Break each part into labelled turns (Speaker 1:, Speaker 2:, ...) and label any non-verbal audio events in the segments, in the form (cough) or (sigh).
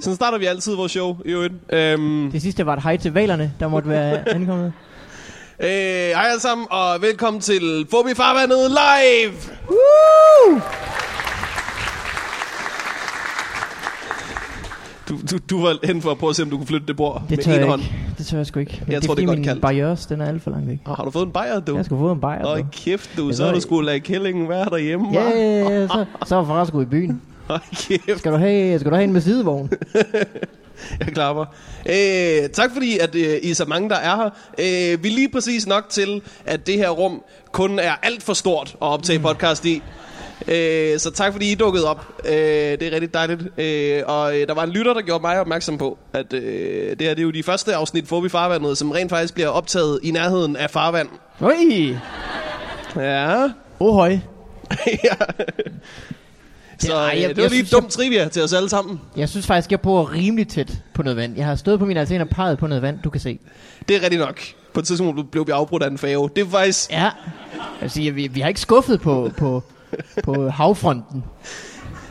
Speaker 1: Sådan starter vi altid vores show, i øvrigt. Øhm,
Speaker 2: Det sidste var et hej til valerne, der måtte
Speaker 1: (laughs)
Speaker 2: være ankommet.
Speaker 1: øh, hej alle sammen, og velkommen til Fobi Farvandet Live!
Speaker 2: Woo!
Speaker 1: Du, du, du var hen for at prøve at se, om du kunne flytte det bord
Speaker 2: Det
Speaker 1: med
Speaker 2: tør
Speaker 1: en
Speaker 2: jeg
Speaker 1: hånd.
Speaker 2: ikke. Det tør jeg sgu ikke.
Speaker 1: Jeg tror, det er godt
Speaker 2: min
Speaker 1: kaldt.
Speaker 2: barriers, den er alt for langt væk.
Speaker 1: Og har du fået en bajer, du?
Speaker 2: Jeg skulle få en bajer.
Speaker 1: Nå,
Speaker 2: bro.
Speaker 1: i kæft, du.
Speaker 2: Jeg
Speaker 1: Så har
Speaker 2: ved
Speaker 1: du
Speaker 2: ikke.
Speaker 1: skulle lade killingen være derhjemme,
Speaker 2: Ja,
Speaker 1: hva'?
Speaker 2: ja, ja, ja, så, så var far sgu i byen.
Speaker 1: Hold kæft,
Speaker 2: Skal du have, skal du have en med sidevogn?
Speaker 1: (laughs) jeg klapper. Øh, tak fordi, at øh, I er så mange, der er her. Øh, vi er lige præcis nok til, at det her rum kun er alt for stort at optage
Speaker 2: Mm.
Speaker 1: podcast i. Øh, så tak fordi I dukkede op. Øh, det er rigtig dejligt. Øh, og øh, der var en lytter, der gjorde mig opmærksom på, at øh, det her det er jo de første afsnit Fobi Farvandet, som rent faktisk bliver optaget i nærheden af farvand.
Speaker 2: Oi!
Speaker 1: Ja. (laughs)
Speaker 2: Oh, høj.
Speaker 1: ja. Så
Speaker 2: ej,
Speaker 1: øh,
Speaker 2: jeg-
Speaker 1: det var
Speaker 2: jeg
Speaker 1: lige et
Speaker 2: synes, jeg-
Speaker 1: dumt trivia til os alle sammen.
Speaker 2: Jeg synes faktisk, jeg bor rimelig tæt på noget vand. Jeg har stået på min altan og peget på noget vand, du kan se.
Speaker 1: Det er rigtigt nok. På et tidspunkt blev vi afbrudt af en fave. Det er faktisk...
Speaker 2: Ja. Jeg vil sige, at vi, vi har ikke skuffet på, på, på havfronten.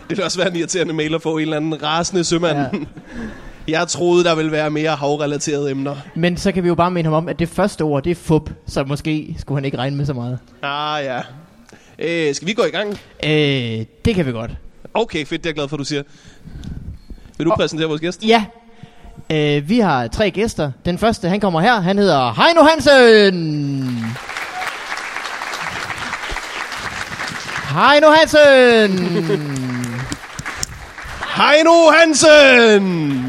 Speaker 1: Det vil også være en irriterende mail at få en eller anden rasende sømand.
Speaker 2: Ja.
Speaker 1: Ja. (laughs) Jeg troede, der ville være mere havrelaterede emner.
Speaker 2: Men så kan vi jo bare minde ham om, at det første ord, det er fup. Så måske skulle han ikke regne med så meget.
Speaker 1: Ah, ja. Øh, skal vi gå i gang?
Speaker 2: Øh, det kan vi godt.
Speaker 1: Okay, fedt. Det er jeg glad for, du siger. Vil du
Speaker 2: Og-
Speaker 1: præsentere vores gæst?
Speaker 2: Ja. Øh, vi har tre gæster. Den første, han kommer her, han hedder Heino Hansen. Heino (laughs) Hansen.
Speaker 1: Heino Hansen!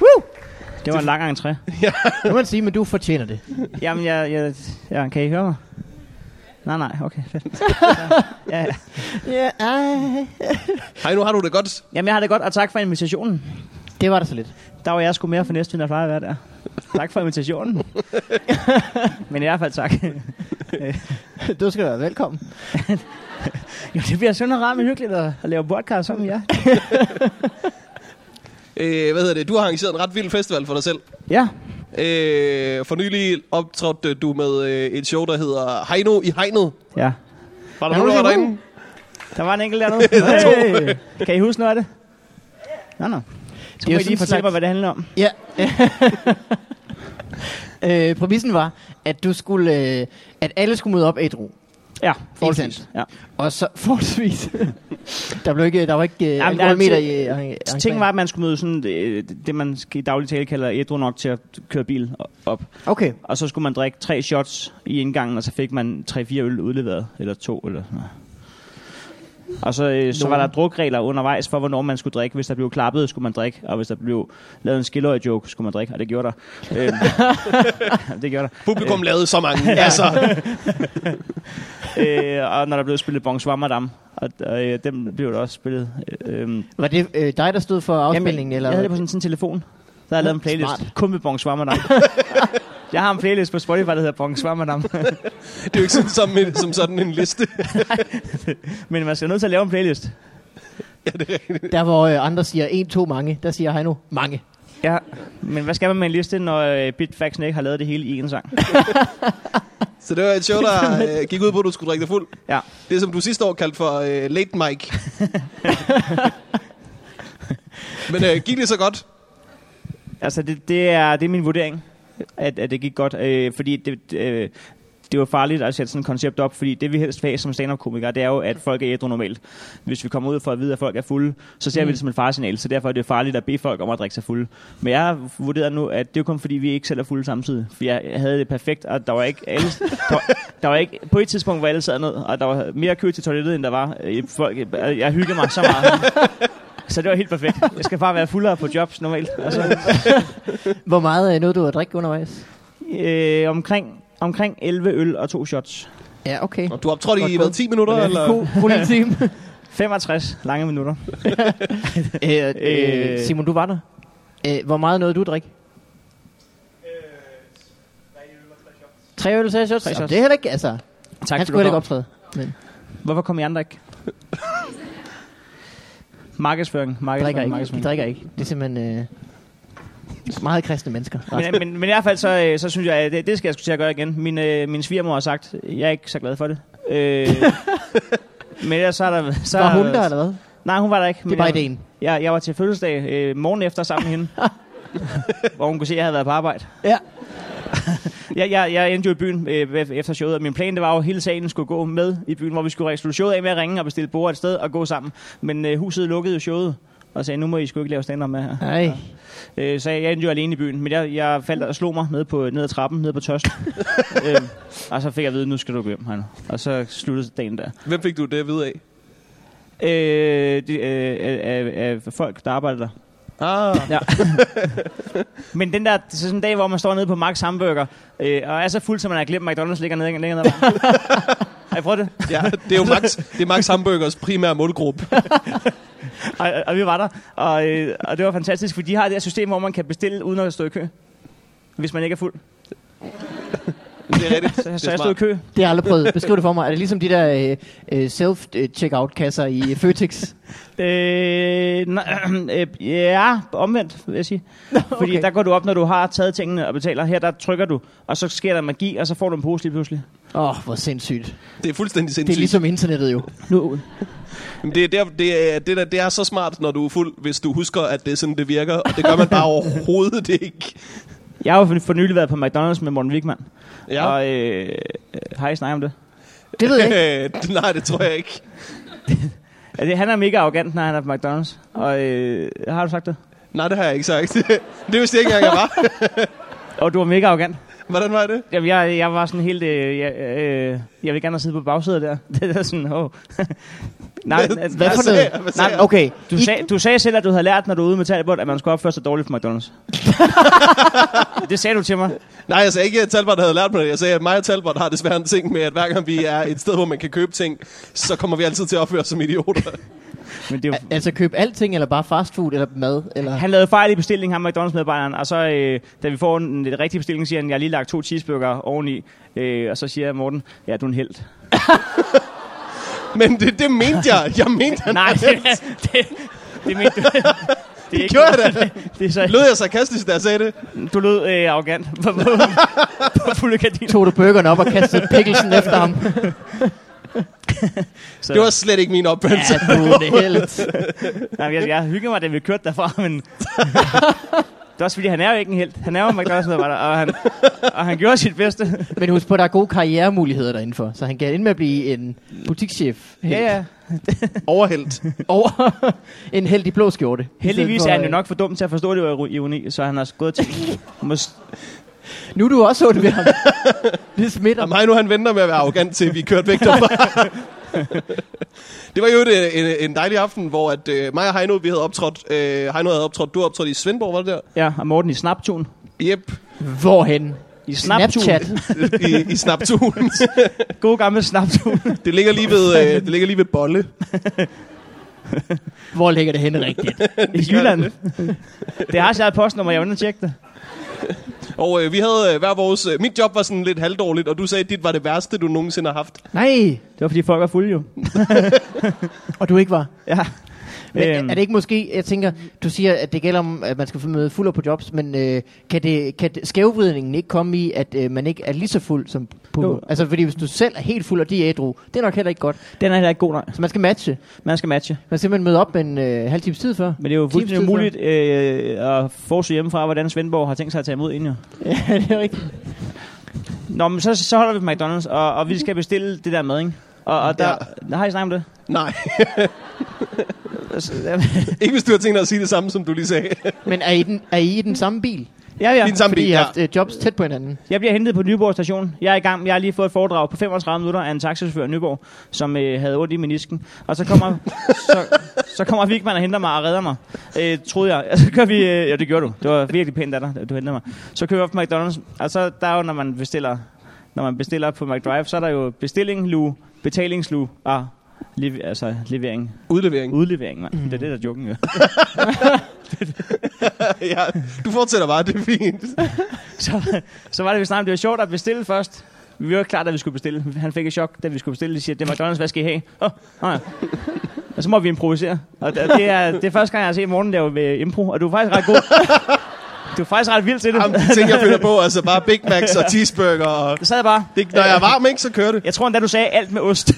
Speaker 2: Woo!
Speaker 3: Det var en lang entré.
Speaker 2: Nu må man sige, men du fortjener det.
Speaker 3: Jamen, jeg, jeg, jeg, kan I høre mig? Nej, nej, okay, fedt. Ja, ja.
Speaker 2: Ja, ej.
Speaker 1: Heino, har du det godt?
Speaker 3: Jamen, jeg har det godt, og tak for invitationen.
Speaker 2: Det var der så lidt.
Speaker 3: Der var jeg sgu mere for næste, end jeg plejer at være der. Tak for invitationen. Men i hvert fald tak.
Speaker 2: (laughs) Du skal være velkommen.
Speaker 3: Jo, det bliver sådan rart og hyggeligt at, at lave podcast som jer.
Speaker 1: Øh, hvad hedder det? Du har arrangeret en ret vild festival for dig selv.
Speaker 3: Ja,
Speaker 1: Øh, for nylig optrådte du med øh, et show, der hedder Heino i Hegnet.
Speaker 3: ja.
Speaker 1: Var der
Speaker 2: Ja,
Speaker 1: nogen, der var
Speaker 2: det er
Speaker 1: derinde?
Speaker 3: Der var en enkelt dernede.
Speaker 1: To.
Speaker 3: Hey. Kan I huske noget af det? Nå, nå. Så
Speaker 2: er
Speaker 3: må
Speaker 2: jo
Speaker 3: I lige
Speaker 2: sådan
Speaker 3: fortælle
Speaker 2: slags-
Speaker 3: mig, hvad det handler om.
Speaker 2: Ja. (laughs) øh, præmissen var, at du skulle, øh, at alle skulle møde op ædru.
Speaker 3: Ja,
Speaker 2: sandt.
Speaker 3: forholdsvis. Ja.
Speaker 2: Og så forholdsvis. (laughs) der blev ikke, der var ikke øh,
Speaker 3: Jamen, der er
Speaker 2: alkoholmeter
Speaker 3: altid-
Speaker 2: i arrangementet.
Speaker 3: Ting var, at man skulle møde sådan øh, det, det man i daglig tale kalder ædru nok til at køre bil op.
Speaker 2: Okay.
Speaker 3: Og så skulle man drikke tre shots i indgangen, og så fik man tre-fire øl udleveret, eller to, eller sådan noget. Og så, øh, så var der drukregler undervejs for, hvornår man skulle drikke. Hvis der blev klappet, skulle man drikke, og hvis der blev lavet en skilløj joke skulle man drikke, og det gjorde der. Øhm, (laughs) det gjorde der.
Speaker 2: Øh.
Speaker 1: Publikum lavede så
Speaker 2: (laughs)
Speaker 1: mange. altså,
Speaker 3: Øh, og når der blev spillet Bonsoir Madame, og, og øh, dem blev der også spillet. Øh, øhm,
Speaker 2: Var det øh, dig, der stod for afspilningen?
Speaker 3: jeg,
Speaker 2: eller
Speaker 3: jeg havde det
Speaker 2: hvad?
Speaker 3: på sådan sådan en telefon. Der har jeg lavet en playlist.
Speaker 2: Smart.
Speaker 3: Smart. Kun med Bonsoir
Speaker 2: (laughs)
Speaker 3: Madame. jeg har en playlist på Spotify, der hedder Bonsoir Madame.
Speaker 1: Det er jo ikke sådan, som, en, som sådan en liste.
Speaker 3: (laughs) Men man skal nødt til at lave en playlist.
Speaker 2: Der hvor øh, andre siger en, to, mange, der siger Heino mange.
Speaker 3: Ja, men hvad skal man med en liste, når øh, Bitfaxen ikke har lavet det hele i en sang?
Speaker 1: Så det var et show, der øh, gik ud på, at du skulle drikke dig fuld.
Speaker 3: Ja.
Speaker 1: Det, som du sidste år kaldte for øh, Late Mike. Men øh, gik det så godt?
Speaker 3: Altså, det, det, er, det er min vurdering, at, at det gik godt. Øh, fordi det, øh, det var farligt at sætte sådan et koncept op, fordi det vi helst vil have som stand-up-komikere, det er jo, at folk er ædru normalt. Hvis vi kommer ud for at vide, at folk er fulde, så ser mm. vi det som et faresignal, så derfor er det farligt at bede folk om at drikke sig fulde. Men jeg har vurderet nu, at det er jo kun fordi, vi ikke selv er fulde samtidig. For jeg havde det perfekt, og der var ikke alle... der, var, der var ikke, på et tidspunkt var alle sad ned, og der var mere kø til toilettet, end der var øh, folk. Jeg, jeg hyggede mig så meget. Så det var helt perfekt. Jeg skal bare være fuldere på jobs normalt. altså. Og så,
Speaker 2: Hvor meget øh, nåede du at drikke undervejs?
Speaker 3: Øh, omkring, omkring 11 øl og to shots.
Speaker 2: Ja, okay.
Speaker 1: Du optrådte i
Speaker 3: Godt
Speaker 1: hvad,
Speaker 3: gået.
Speaker 1: 10 minutter?
Speaker 3: Ja,
Speaker 1: Eller?
Speaker 2: God, god lille (laughs) time.
Speaker 3: 65 lange minutter.
Speaker 2: øh, øh,
Speaker 3: Øh.
Speaker 2: Simon, du var der. Øh, hvor meget nåede du at drikke? Øh, Tre øl, tre shots.
Speaker 3: Tre
Speaker 2: Jamen,
Speaker 3: shots.
Speaker 2: Det er heller ikke, altså.
Speaker 3: Tak,
Speaker 2: han skulle
Speaker 3: fordi du
Speaker 2: heller ikke
Speaker 3: kom.
Speaker 2: optræde. Men
Speaker 3: Hvorfor kom I andre ikke? markedsføring,
Speaker 2: drikker ikke.
Speaker 3: markedsføring,
Speaker 2: Vi
Speaker 3: markedsføring.
Speaker 2: drikker ikke. Det er simpelthen øh, meget kristne mennesker.
Speaker 3: Men, men, men i hvert fald, så, øh, så synes jeg, at det, det skal jeg sgu til at gøre igen. Min, øh, min svigermor har sagt, at jeg er ikke så glad for det.
Speaker 2: (laughs)
Speaker 3: Øh, men ellers så er der... Så
Speaker 2: Var
Speaker 3: er-
Speaker 2: hun der, eller hvad?
Speaker 3: Nej, hun var der ikke.
Speaker 2: Det er
Speaker 3: men
Speaker 2: bare
Speaker 3: jeg-
Speaker 2: ideen.
Speaker 3: Jeg, jeg var til fødselsdag øh, morgen efter sammen med hende, hvor hun kunne se, at jeg havde været på arbejde. (laughs)
Speaker 2: Ja.
Speaker 3: Jeg, jeg, jeg endte jo i byen øh, ef- efter showet, og min plan det var jo, at hele salen skulle gå med i byen, hvor vi skulle slutte showet af med at ringe og bestille bord et sted og gå sammen. Men øh, huset lukkede jo showet og sagde, nu må I sgu ikke lave stand med her.
Speaker 2: Nej.
Speaker 3: Øh, så jeg, jeg endte jo alene i byen, men jeg, jeg faldt og slog mig ned, på, ned ad trappen, ned på tørsten. øh, og så fik jeg at vide, nu skal du gå hjem, han. Og så sluttede dagen der.
Speaker 1: Hvem fik du det at vide af?
Speaker 3: Øh, de, øh, af, af, af folk, der arbejder der.
Speaker 1: Ah,
Speaker 3: Ja. Men den der, så sådan en dag, hvor man står nede på Max Hamburger, øh, og er så fuld, som man har glemt, at McDonald's ligger nede længere ned.
Speaker 1: (laughs)
Speaker 3: Har I prøvet det?
Speaker 1: ja, det er jo Max, det er Max Hamburgers primære målgruppe.
Speaker 3: Og, og, og vi var der, og, øh, og det var fantastisk, for de har det her system, hvor man kan bestille uden at stå i kø. Hvis man ikke er fuld.
Speaker 1: Det er rigtigt.
Speaker 3: Så,
Speaker 1: Det er
Speaker 3: så jeg stod
Speaker 1: smart.
Speaker 3: i kø.
Speaker 2: Det har jeg aldrig prøvet. Beskriv det for mig. Er det ligesom de der øh, øh, self-checkout-kasser i Føtex?
Speaker 3: Øh, nej, (clears throat) øh, ja, omvendt, vil jeg
Speaker 1: (laughs)
Speaker 3: sige. Fordi
Speaker 2: okay.
Speaker 3: der går du op, når du har taget tingene og betaler. Her, der trykker du, og så sker der magi, og så får du en pose lige pludselig.
Speaker 2: Åh, oh, hvor sindssygt.
Speaker 1: Det er fuldstændig
Speaker 2: Det er
Speaker 1: sindssygt.
Speaker 2: ligesom internettet jo.
Speaker 3: Nu,
Speaker 1: Jamen, Det er, der, det, er, det, der, det er så smart, når du er fuld, hvis du husker, at det er sådan, det virker. Og det gør man bare overhovedet ikke.
Speaker 3: jeg har jo for- for nylig været på McDonald's med Morten Wigman.
Speaker 1: Ja.
Speaker 3: Ja. Og øh, øh, har I snakket om det?
Speaker 2: Det ved jeg ikke.
Speaker 1: Øh, (laughs) Nej, det tror jeg ikke.
Speaker 3: Ja, det? Han er mega arrogant, når han er på McDonald's. Og øh, har du sagt det?
Speaker 1: Nej, det har jeg ikke sagt. (laughs) Det vidste jeg ikke engang, jeg var.
Speaker 3: Og du var mega arrogant.
Speaker 1: Hvordan var det?
Speaker 3: Jamen, jeg, jeg var sådan helt... Øh, jeg, øh, jeg vil gerne sidde på bagsædet der. (laughs) Det er sådan, åh. Oh. nej,
Speaker 1: Hvad-
Speaker 3: nej,
Speaker 2: Hvad for
Speaker 1: Hvad
Speaker 2: noget?
Speaker 1: sagde jeg? Hvad sagde
Speaker 2: Nej,
Speaker 1: jeg?
Speaker 2: okay.
Speaker 3: Du, sag, du sagde selv, at du havde lært, når du var ude med Talbot, at man skulle opføre sig dårligt på McDonald's. det sagde du til mig.
Speaker 1: Nej, jeg sagde ikke, at Talbot havde lært mig det. Jeg sagde, at mig og Talbot har desværre en ting med, at hver gang vi er et sted, hvor man kan købe ting, så kommer vi altid til at opføre os som idioter.
Speaker 3: Men det er
Speaker 2: Al- altså køb alting, eller bare fastfood, eller mad, eller...
Speaker 3: jo, han lavede fejl i bestillingen, ham McDonald's-medarbejderen, og så, øh, da vi får en, en rigtig bestilling, siger han, jeg har lige lagt to cheeseburger oveni, øh, og så siger Morten, ja, du er en held.
Speaker 1: Men det, det mente jeg. Jeg mente, han
Speaker 3: (laughs) Nej, det, det, det mente du. Det, er ikke-
Speaker 1: gjorde jeg da.
Speaker 3: (laughs) Det er så,
Speaker 1: (laughs) Lød jeg sarkastisk, da jeg sagde det?
Speaker 3: du lød øh, arrogant (laughs) på, på, på fulde gardiner.
Speaker 2: Tog du burgeren op og kastede pikkelsen efter ham?
Speaker 3: Så,
Speaker 1: Det var slet ikke min opfattelse.
Speaker 2: Ja, du er en helt.
Speaker 3: nej, men jeg, jeg hyggede mig, da vi kørte derfra, (laughs) men... det er også fordi, han er jo ikke en held. Han er jo McDonald's medarbejder, og han, og han gjorde sit bedste.
Speaker 2: Men husk på, at der er gode karrieremuligheder derinde så han kan ende med at blive en butikschef.
Speaker 3: ja, ja.
Speaker 1: Overhældt.
Speaker 2: (laughs) Over en heldig blå skjorte. I stedet
Speaker 3: Heldigvis
Speaker 2: for,
Speaker 3: er han jo
Speaker 2: øh,
Speaker 3: nok for dum til at forstå, at det var ironi, så han har gået til... Mås-
Speaker 2: Nu er du også ondt ved ham. (laughs) Det smitter
Speaker 1: Og
Speaker 2: mig.
Speaker 1: mig nu, han venter med at være arrogant til, vi kørte væk
Speaker 3: (laughs)
Speaker 1: derfra. det var jo et, øh, en, en dejlig aften, hvor at, øh, mig og Heino, vi havde optrådt. Øh, Heino havde optrådt, du havde optrådt i Svendborg, var det der?
Speaker 3: ja, og Morten i Snaptun.
Speaker 1: Jep,
Speaker 2: Hvorhen?
Speaker 3: I Snaptun.
Speaker 2: Snapchat.
Speaker 1: i, i Snaptun.
Speaker 3: (laughs) God gammel Snaptun.
Speaker 1: det, ligger lige ved, øh, det ligger lige ved Bolle.
Speaker 2: Hvor ligger det henne rigtigt?
Speaker 3: I Jylland. Det har også jeg et postnummer, jeg er nødt til at tjekke det.
Speaker 1: Og øh, vi havde øh, hver vores... Øh, mit job var sådan lidt halvdårligt, og du sagde, at dit var det værste, du nogensinde har haft.
Speaker 2: (laughs) Nej,
Speaker 3: Det var fordi folk er fulde jo.
Speaker 2: og du ikke var.
Speaker 3: Ja.
Speaker 2: Men øhm. er det ikke måske, jeg tænker, du siger, at det gælder om, at man skal møde fulder på jobs, men øh, kan, det, kan det, skævvridningen ikke komme i, at øh, man ikke er lige så fuld som på?
Speaker 3: Jo.
Speaker 2: Altså, fordi hvis du selv er helt fuld, og de er ædru, det er nok heller ikke godt.
Speaker 3: Den er heller ikke god, nej.
Speaker 2: Så man skal matche.
Speaker 3: Man skal matche.
Speaker 2: Man skal simpelthen møde op en øh, halv times tid før.
Speaker 3: Men det er jo
Speaker 2: Times tid
Speaker 3: fuldstændig umuligt øh, at forudse hjemmefra, hvordan Svendborg har tænkt sig at tage imod en jo.
Speaker 2: før. ja, (laughs) det er rigtigt.
Speaker 3: Nå, men så, så holder vi på McDonald's, og, og vi skal bestille det der mad, ikke? Og, og der, ja. har I snakket om det?
Speaker 1: Nej,
Speaker 3: Altså,
Speaker 1: (laughs) ikke hvis du har tænkt dig at sige det samme, som du lige sagde.
Speaker 2: Men er I, den, er I i den samme bil?
Speaker 3: Ja, ja.
Speaker 1: Din samme
Speaker 2: fordi
Speaker 1: bil,
Speaker 2: I har
Speaker 1: ja.
Speaker 2: haft øh, jobs tæt på hinanden.
Speaker 3: Jeg bliver hentet på Nyborg station. Jeg er i gang. Jeg har lige fået et foredrag på 35 minutter af en taxichauffør i Nyborg, som øh, havde ondt i menisken. Og så kommer, så, så kommer Vigman og henter mig og redder mig. Øh, troede jeg. Og så kører vi... Øh, ja, det gjorde du. Det var virkelig pænt af dig, at du hentede mig. Så kører vi op på McDonald's. Og så der er jo, når man bestiller, når man bestiller på McDrive, så er der jo bestilling, lu, betalingslue og lev, altså levering.
Speaker 1: (laughs) Udlevering.
Speaker 3: Udlevering, mand. Det er det, der er joken, jo.
Speaker 1: ja, du fortsætter bare, det er (laughs) fint.
Speaker 3: så, så var det, vi snakkede om, det var sjovt at bestille først. Vi var ikke klar, da vi skulle bestille. Han fik et chok, da vi skulle bestille. De siger, det er McDonald's, hvad skal I have? Oh, oh ja. Og så må vi improvisere. Og det det er, det er første gang, jeg har set Morten lave med impro, og du er faktisk ret god. Du er faktisk ret vild til det.
Speaker 1: Jamen, de ting, jeg finder på, altså bare Big Macs og cheeseburger. Og
Speaker 3: Jeg sad bare.
Speaker 1: (laughs) det, når jeg er varm, ikke, så kører det.
Speaker 3: Jeg tror endda, du sagde alt med ost.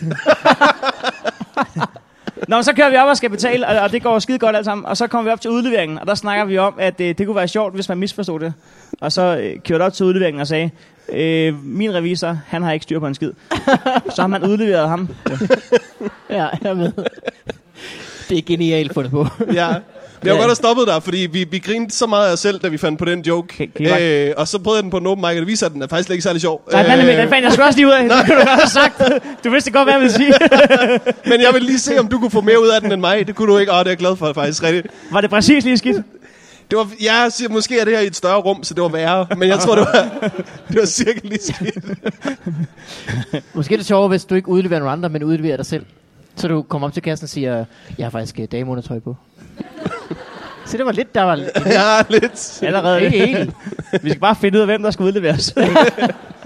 Speaker 3: Nå, så kører vi op og skal betale, og, og det går skide godt alt sammen. Og så kommer vi op til udleveringen, og der snakker vi om, at øh, det kunne være sjovt, hvis man misforstod det. Og så øh, kørte op til udleveringen og sagde, øh, min revisor, han har ikke styr på en skid. så har man udleveret ham.
Speaker 2: Ja, jeg er med. Det er genialt fundet på.
Speaker 1: Ja. Men jeg var godt have stoppet der, fordi vi, vi grinede så meget af os selv, da vi fandt på den joke.
Speaker 3: Kan- kan I bare-
Speaker 1: Øh, og så prøvede jeg den på en open mic, og det viser, at den er faktisk slet ikke særlig sjov. Øh,
Speaker 3: Nej, fandme, den fandt (laughs) jeg sgu også lige ud af. Det kunne du godt have sagt. Du vidste godt, hvad jeg ville sige.
Speaker 1: men jeg vil lige se, om du kunne få mere ud af den end mig. Det kunne du ikke. Åh, det er jeg glad for, faktisk. Rigtigt.
Speaker 3: Var det præcis lige skidt?
Speaker 1: Det var, jeg siger, måske er det her i et større rum, så det var værre. Men jeg tror, det var, (laughs) det var cirka lige skidt.
Speaker 2: Måske er det sjovere, hvis du ikke udleverer nogen andre, men udleverer dig selv. Så du kommer op til kassen og siger, jeg har faktisk øh, dameundertøj på. (laughs) Så det var lidt, der var lidt.
Speaker 1: Ja, lidt.
Speaker 3: Allerede.
Speaker 2: Ikke helt.
Speaker 3: Vi skal bare finde ud af, hvem der skal
Speaker 2: (laughs)
Speaker 3: udleveres. det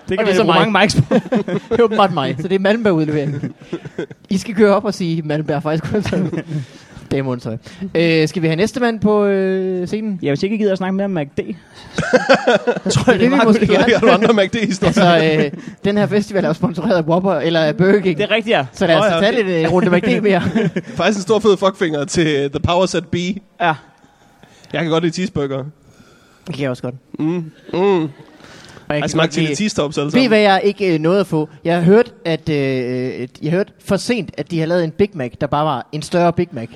Speaker 3: kan
Speaker 2: er
Speaker 3: vi
Speaker 2: så
Speaker 3: så
Speaker 2: mig.
Speaker 3: mange mics på.
Speaker 2: Det er åbenbart mig. Så det er Malmberg udlevering. I skal køre op og sige, Malmberg er faktisk udlevering. (laughs) Dameundertøj. Øh, skal vi have næste mand på øh, scenen?
Speaker 3: Ja, hvis I ikke gider at snakke mere om (laughs) MACD,
Speaker 2: Jeg tror, det,
Speaker 3: det er
Speaker 2: det, vi
Speaker 3: meget
Speaker 2: måske
Speaker 3: godt.
Speaker 2: gerne.
Speaker 1: Har du andre MACD-historier?
Speaker 2: Altså, øh, den her festival er jo sponsoreret af Whopper eller af Burger King.
Speaker 3: det altså- er rigtigt, ja.
Speaker 2: Så lad os
Speaker 1: Nå, ja,
Speaker 2: tage lidt øh, rundt om det mere.
Speaker 1: Faktisk en stor fed fuckfinger til The Power Set B.
Speaker 3: ja.
Speaker 1: Jeg kan godt lide cheeseburger.
Speaker 2: Det kan jeg også godt.
Speaker 1: Mm.
Speaker 2: Og
Speaker 1: Jeg
Speaker 2: kan
Speaker 1: smagte
Speaker 2: godt lide-
Speaker 1: til cheese-tops alle
Speaker 2: Ved I,
Speaker 1: sammen.
Speaker 2: hvad jeg ikke øh, nåede at få? Jeg hørte, at, øh, jeg hørte for sent, at de har lavet en Big Mac, der bare var en større Big Mac.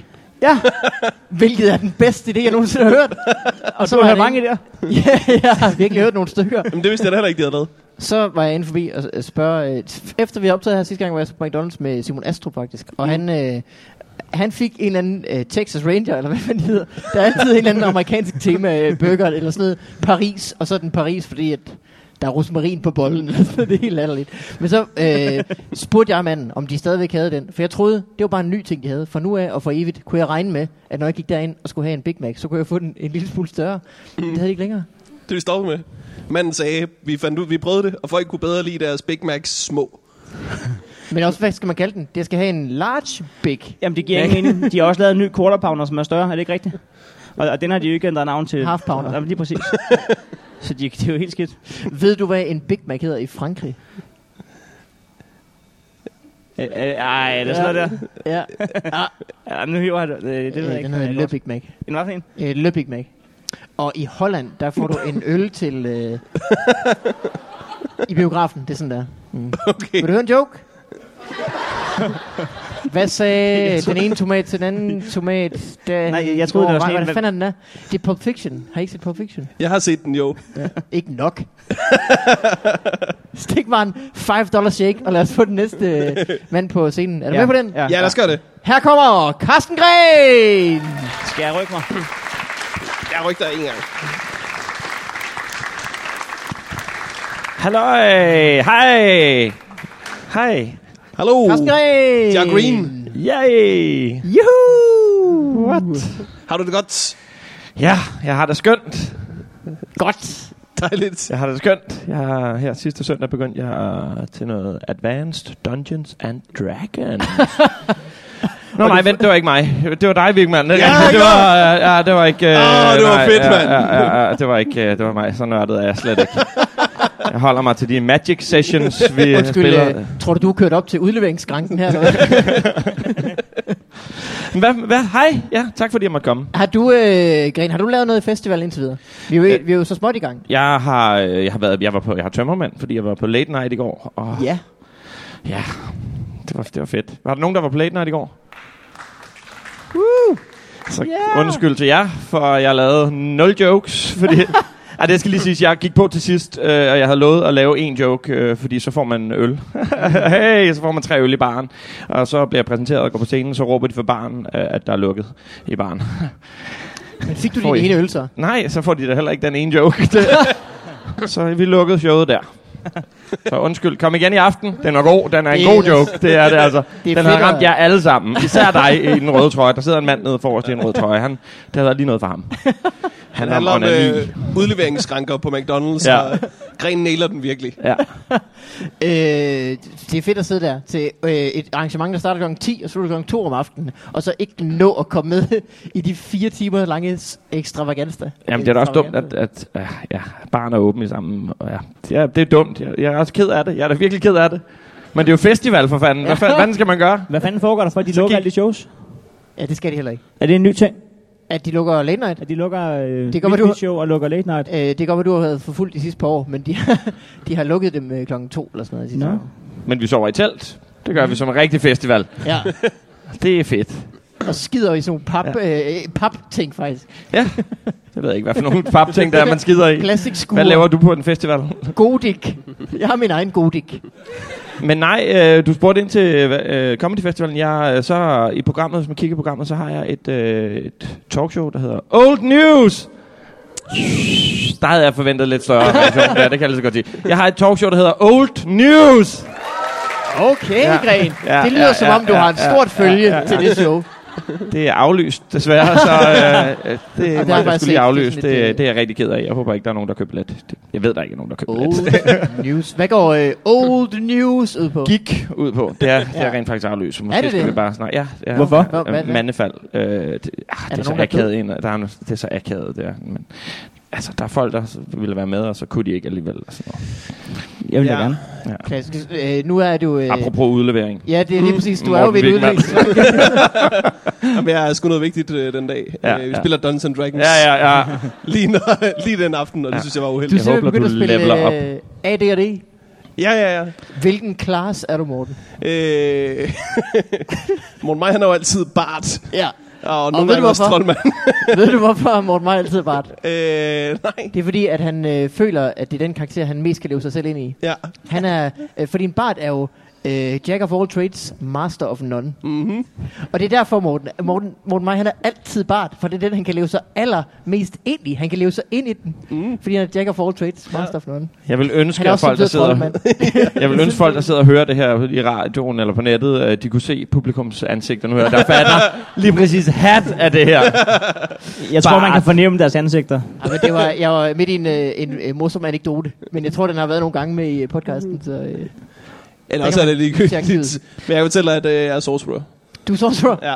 Speaker 3: Ja,
Speaker 2: (laughs) Hvilket er den bedste idé, jeg nogensinde har hørt.
Speaker 3: (laughs) og
Speaker 2: så
Speaker 3: du
Speaker 2: var
Speaker 3: har
Speaker 2: det
Speaker 3: mange
Speaker 2: ikke-
Speaker 3: der.
Speaker 2: (laughs) ja, jeg har virkelig hørt nogle stykker.
Speaker 1: Jamen, det vidste jeg da heller ikke, de havde lavet.
Speaker 2: Så var jeg inde forbi og øh, spørge... Øh, efter vi optagede her sidste gang, var jeg på McDonald's med Simon Astrup faktisk. Og han, øh, han fik en eller anden øh, Texas Ranger, eller hvad fanden det hedder. Der er altid en eller anden amerikansk tema, øh, burger eller sådan noget. Paris, og så den Paris, fordi at der er rosmarin på bollen. eller sådan noget. det er helt latterligt. Men så øh, spurgte jeg manden, om de stadigvæk havde den. For jeg troede, det var bare en ny ting, de havde. For nu af og for evigt kunne jeg regne med, at når jeg gik derind og skulle have en Big Mac, så kunne jeg få den en lille smule større. Det havde de ikke længere.
Speaker 1: Det er vi stoppet med. Manden sagde, vi fandt ud, vi prøvede det, og folk kunne bedre lide deres Big Macs små. (laughs)
Speaker 2: Men også, hvad skal man kalde den? Det skal have en large big.
Speaker 3: Jamen, det giver ingen mening. De har også lavet en ny quarter pounder, som er større. Er det ikke rigtigt? Og, og den har de jo ikke ændret navn til.
Speaker 2: Half pounder.
Speaker 3: Øh, (laughs) Jamen, lige præcis. Så de, det er jo helt skidt.
Speaker 2: Ved du, hvad en Big Mac hedder i Frankrig?
Speaker 3: Øh, øh, Ej, det er sådan noget der.
Speaker 2: Ja,
Speaker 3: Ja, nu hiver han. Øh, det ved jeg
Speaker 2: øh,
Speaker 3: ikke.
Speaker 2: den hedder en Le Big Mac.
Speaker 3: En hvad for en?
Speaker 2: Øh, Le Big Mac. Og i Holland, der får du en øl til...
Speaker 3: (laughs)
Speaker 2: Øh, I biografen, det er sådan der. Mm.
Speaker 1: Okay.
Speaker 2: Vil du høre en
Speaker 3: (laughs)
Speaker 2: joke? Hvad sagde den ene tomat til den anden tomat? Da
Speaker 3: Nej, jeg
Speaker 2: han
Speaker 3: troede, det var
Speaker 2: går-
Speaker 3: sådan en-
Speaker 2: Hvad fanden er den der? Det er Pulp Fiction. Har I ikke set Pulp Fiction?
Speaker 1: Jeg har set den jo.
Speaker 2: Ikke nok. (laughs) Stik mig en 5 dollar shake, og lad os få den næste øh, mand på scenen. Er du med på den?
Speaker 1: Ja, lad os gøre det.
Speaker 2: Her kommer Carsten Gren!
Speaker 3: Skal jeg rykke mig?
Speaker 1: Jeg rygter ikke engang.
Speaker 3: Hallo, hej. Hej.
Speaker 1: Hallo.
Speaker 2: Carsten Gren!
Speaker 1: Jeg er green.
Speaker 3: Yay.
Speaker 2: Juhu! What?
Speaker 1: Har du det godt?
Speaker 4: Ja, jeg har det skønt.
Speaker 2: Godt.
Speaker 1: Dejligt.
Speaker 4: Jeg har det skønt. Jeg har her sidste søndag begyndt jeg til noget Advanced Dungeons and Dragons.
Speaker 1: (laughs)
Speaker 4: Nå nej, vent, det var ikke mig. Det var dig, Vigman. Ja, (laughs) det, var, øh, ja, det var ikke... øh,
Speaker 1: Åh, det var
Speaker 4: nej,
Speaker 1: fedt,
Speaker 4: ja,
Speaker 1: mand.
Speaker 4: Ja, ja, ja, det var ikke... øh, det var mig. Så nørdet er jeg slet ikke. Jeg holder mig til de Magic Sessions,
Speaker 1: (laughs)
Speaker 4: vi Undskyld,
Speaker 2: Undskyld,
Speaker 4: spiller.
Speaker 2: øh, tror du, du er kørt op til udleveringsskranken
Speaker 4: (laughs)
Speaker 2: her? eller hvad?
Speaker 4: Hvad, hvad? Hej. Ja, tak fordi jeg måtte komme.
Speaker 2: har du, øh, Gren, har du lavet noget festival indtil videre? Vi er jo, vi er jo så småt i gang.
Speaker 4: Jeg har, øh, jeg har været, jeg var på, jeg har tømmermand, fordi jeg var på late night i går. Og
Speaker 2: Ja.
Speaker 4: Ja, det var, det var fedt. Var der nogen, der var på Late Night i går? Uh! Så
Speaker 2: Yeah!
Speaker 4: yeah! undskyld til jer, for jeg lavede nul jokes, fordi... Ej, det skal lige siges, jeg gik på til sidst, øh, og jeg havde lovet at lave en joke, øh, fordi så får man øl. (laughs) hey, så får man tre øl i baren. Og så bliver jeg præsenteret og går på scenen, så råber de for baren, øh, at der er lukket i baren.
Speaker 2: Men fik du
Speaker 4: Får
Speaker 2: din
Speaker 4: I?
Speaker 2: ene øl så?
Speaker 4: Nej, så får de da heller ikke den ene joke. (laughs) så vi lukkede showet der. Så undskyld, kom igen i aften. Den er god, den er en
Speaker 2: Det er
Speaker 4: god
Speaker 2: ellers-
Speaker 4: joke. Det er det altså.
Speaker 2: (laughs) Det er
Speaker 4: Den har
Speaker 2: fedt at-
Speaker 4: ramt jer alle sammen. Især dig i den røde trøje. Der sidder en mand nede forrest i en rød trøje. Han, det har været lige noget for ham. Han
Speaker 1: Det
Speaker 4: er om
Speaker 1: handler om
Speaker 4: onani.
Speaker 1: øh, udleveringsskranker på McDonald's, ja.
Speaker 4: Ja.
Speaker 1: og Gren nailer den virkelig.
Speaker 4: Ja.
Speaker 2: Øh, det er fedt at sidde der til øh, et arrangement, der starter kl. 10 og slutter kl. 2 om aftenen, og så ikke nå at komme med (laughs) i de fire timer lange s- ekstravaganser.
Speaker 4: Jamen, det er da også dumt, at, at øh, ja, barn er åbne sammen. Og ja, det, er, det er dumt. Jeg, jeg er også ked af det. Jeg er da
Speaker 2: (laughs)
Speaker 4: virkelig ked af det. Men det er jo festival for fanden. Hvad, fa- hvad fanden skal man gøre?
Speaker 3: Hvad fanden foregår der for, at de lukker
Speaker 4: gik-
Speaker 3: alle de shows?
Speaker 2: Ja, det skal de heller ikke.
Speaker 3: Er det en ny ting?
Speaker 2: At de lukker late night?
Speaker 3: At de lukker øh,
Speaker 2: Det kommer, du-
Speaker 3: weekly show og lukker late night?
Speaker 2: Øh, det kan godt være, du har været forfulgt de sidste par år, men de, har- (laughs) de har lukket dem øh, klokken to eller sådan noget. de sidste
Speaker 3: Nå.
Speaker 2: år.
Speaker 4: Men vi sover i telt. Det gør vi som en rigtig festival.
Speaker 2: Ja,
Speaker 4: Det er fedt.
Speaker 2: og skider i sådan nogle pap, ja. øh, pap-ting faktisk.
Speaker 4: Ja. Det ved jeg ikke, hvad for nogle papting, der er, man skider i.
Speaker 2: Plastikskuer.
Speaker 4: Hvad laver du på en festival?
Speaker 2: Godik. Jeg har min egen godik.
Speaker 4: Men nej, øh, du spurgte ind til øh, Comedy Festivalen. Jeg, øh, så i programmet, hvis man kigger i programmet, så har jeg et, øh, et talkshow, der hedder Old News. Der havde jeg forventet lidt større reaktion. Ja, det kan jeg lige så godt sige. Jeg har et talkshow, der hedder Old News.
Speaker 2: Okay,
Speaker 4: Ja.
Speaker 2: ja. Gren.
Speaker 4: Ja,
Speaker 2: Ja, det lyder
Speaker 4: ja,
Speaker 2: ja, som
Speaker 4: ja,
Speaker 2: om, du
Speaker 4: ja,
Speaker 2: ja, har et
Speaker 4: ja,
Speaker 2: stort ja, følge ja, ja, til det show.
Speaker 4: Det er aflyst, desværre. Så øh, øh, det er
Speaker 2: har
Speaker 4: mig, der
Speaker 2: jeg
Speaker 4: skulle lige
Speaker 2: set.
Speaker 4: aflyst.
Speaker 2: Det er sådan lidt,
Speaker 4: Det,
Speaker 2: øh,
Speaker 4: det er jeg rigtig ked af. Jeg håber ikke, der er nogen, der køber billet. Det- Jeg ved, der ikke er nogen, der køber (laughs) billet.
Speaker 2: Old news. Hvad går øh, old news ud på?
Speaker 4: gik ud på. Det er, det er rent faktisk afløst. så Måske
Speaker 2: Er det
Speaker 4: skal
Speaker 2: det?
Speaker 4: vi bare snakke. Ja, ja,
Speaker 3: Hvorfor?
Speaker 2: Hvor-
Speaker 4: Ja,
Speaker 2: hvad-
Speaker 4: øh,
Speaker 2: hvad?
Speaker 4: mandefald. Øh, det, ah, det er,
Speaker 2: der
Speaker 4: så
Speaker 2: nogen, der er
Speaker 4: akavet ind. Der er, no- det er så akavet, det er. Men, altså, der er folk, der s- ville være med, og så kunne de ikke alligevel. og Sådan noget.
Speaker 3: Jeg vil
Speaker 1: Ja.
Speaker 3: da gerne.
Speaker 2: Klassisk. Øh, nu er du... Øh,
Speaker 4: Apropos udlevering.
Speaker 2: Ja, det er lige præcis. Du
Speaker 4: Mm,
Speaker 2: er jo ved
Speaker 4: Morten
Speaker 2: et
Speaker 4: Wigman.
Speaker 2: udvikling.
Speaker 1: Jamen, jeg er sgu noget vigtigt øh, den dag.
Speaker 4: Ja,
Speaker 1: Ja, øh, vi
Speaker 4: ja.
Speaker 1: spiller Dungeons and Dragons
Speaker 4: Ja, ja, ja.
Speaker 1: Lige, når, (laughs) lige den aften, og det synes jeg var
Speaker 2: Du er
Speaker 1: uheldigt.
Speaker 4: håber,
Speaker 2: simpelthen
Speaker 4: du
Speaker 2: begyndt at
Speaker 4: leveler op.
Speaker 2: spille øh, AD&D.
Speaker 1: (laughs) Ja, ja, ja.
Speaker 2: Hvilken klasse er du, Morten?
Speaker 1: Øh, (laughs) Morten Maj, han er jo altid bart,
Speaker 2: Ja.
Speaker 1: og nogle
Speaker 2: ved
Speaker 1: gange
Speaker 2: du
Speaker 1: også
Speaker 2: hvorfor?
Speaker 1: troldmand. (laughs)
Speaker 2: (laughs) Ved du, hvorfor Morten Maj altid er bart?
Speaker 1: øh, nej.
Speaker 2: Det er fordi, at han øh, føler, at det er den karakter, han mest kan leve sig selv ind i.
Speaker 1: Ja.
Speaker 2: Han er, øh, fordi en bard er jo øh, jack of all trades, master of none.
Speaker 1: Mm-hmm.
Speaker 2: Og det er derfor, Morten, Morten, Morten Maj, han er altid bart, for det er den, han kan leve sig allermest ind i. Han kan leve sig ind i den, mm. fordi han er jack of all trades, master of none.
Speaker 4: Jeg vil
Speaker 2: Han
Speaker 4: ønske,
Speaker 2: er
Speaker 4: at
Speaker 2: også
Speaker 4: folk, der
Speaker 2: samtidig
Speaker 4: sidder,
Speaker 2: troldmand.
Speaker 4: jeg vil ønske folk, der sidder og hører det her i radioen eller på nettet, at de kunne se publikums ansigter nu her, der
Speaker 1: (laughs)
Speaker 4: fatter lige præcis hat af det her.
Speaker 3: Jeg tror, man
Speaker 4: Bart.
Speaker 3: kan fornemme deres ansigter.
Speaker 2: (laughs) Ja, men det var, jeg var midt i en, øh, en øh, morsom anekdote, men jeg tror, den har været nogle gange med i øh, podcasten. Så, øh.
Speaker 1: Eller
Speaker 2: Der
Speaker 1: også
Speaker 2: kan
Speaker 1: er det
Speaker 2: man tjekke
Speaker 1: ligegyldigt.
Speaker 2: ud.
Speaker 1: Men jeg kan fortælle dig, at øh, jeg er sorcerer.
Speaker 2: Du er sorcerer.
Speaker 1: Ja,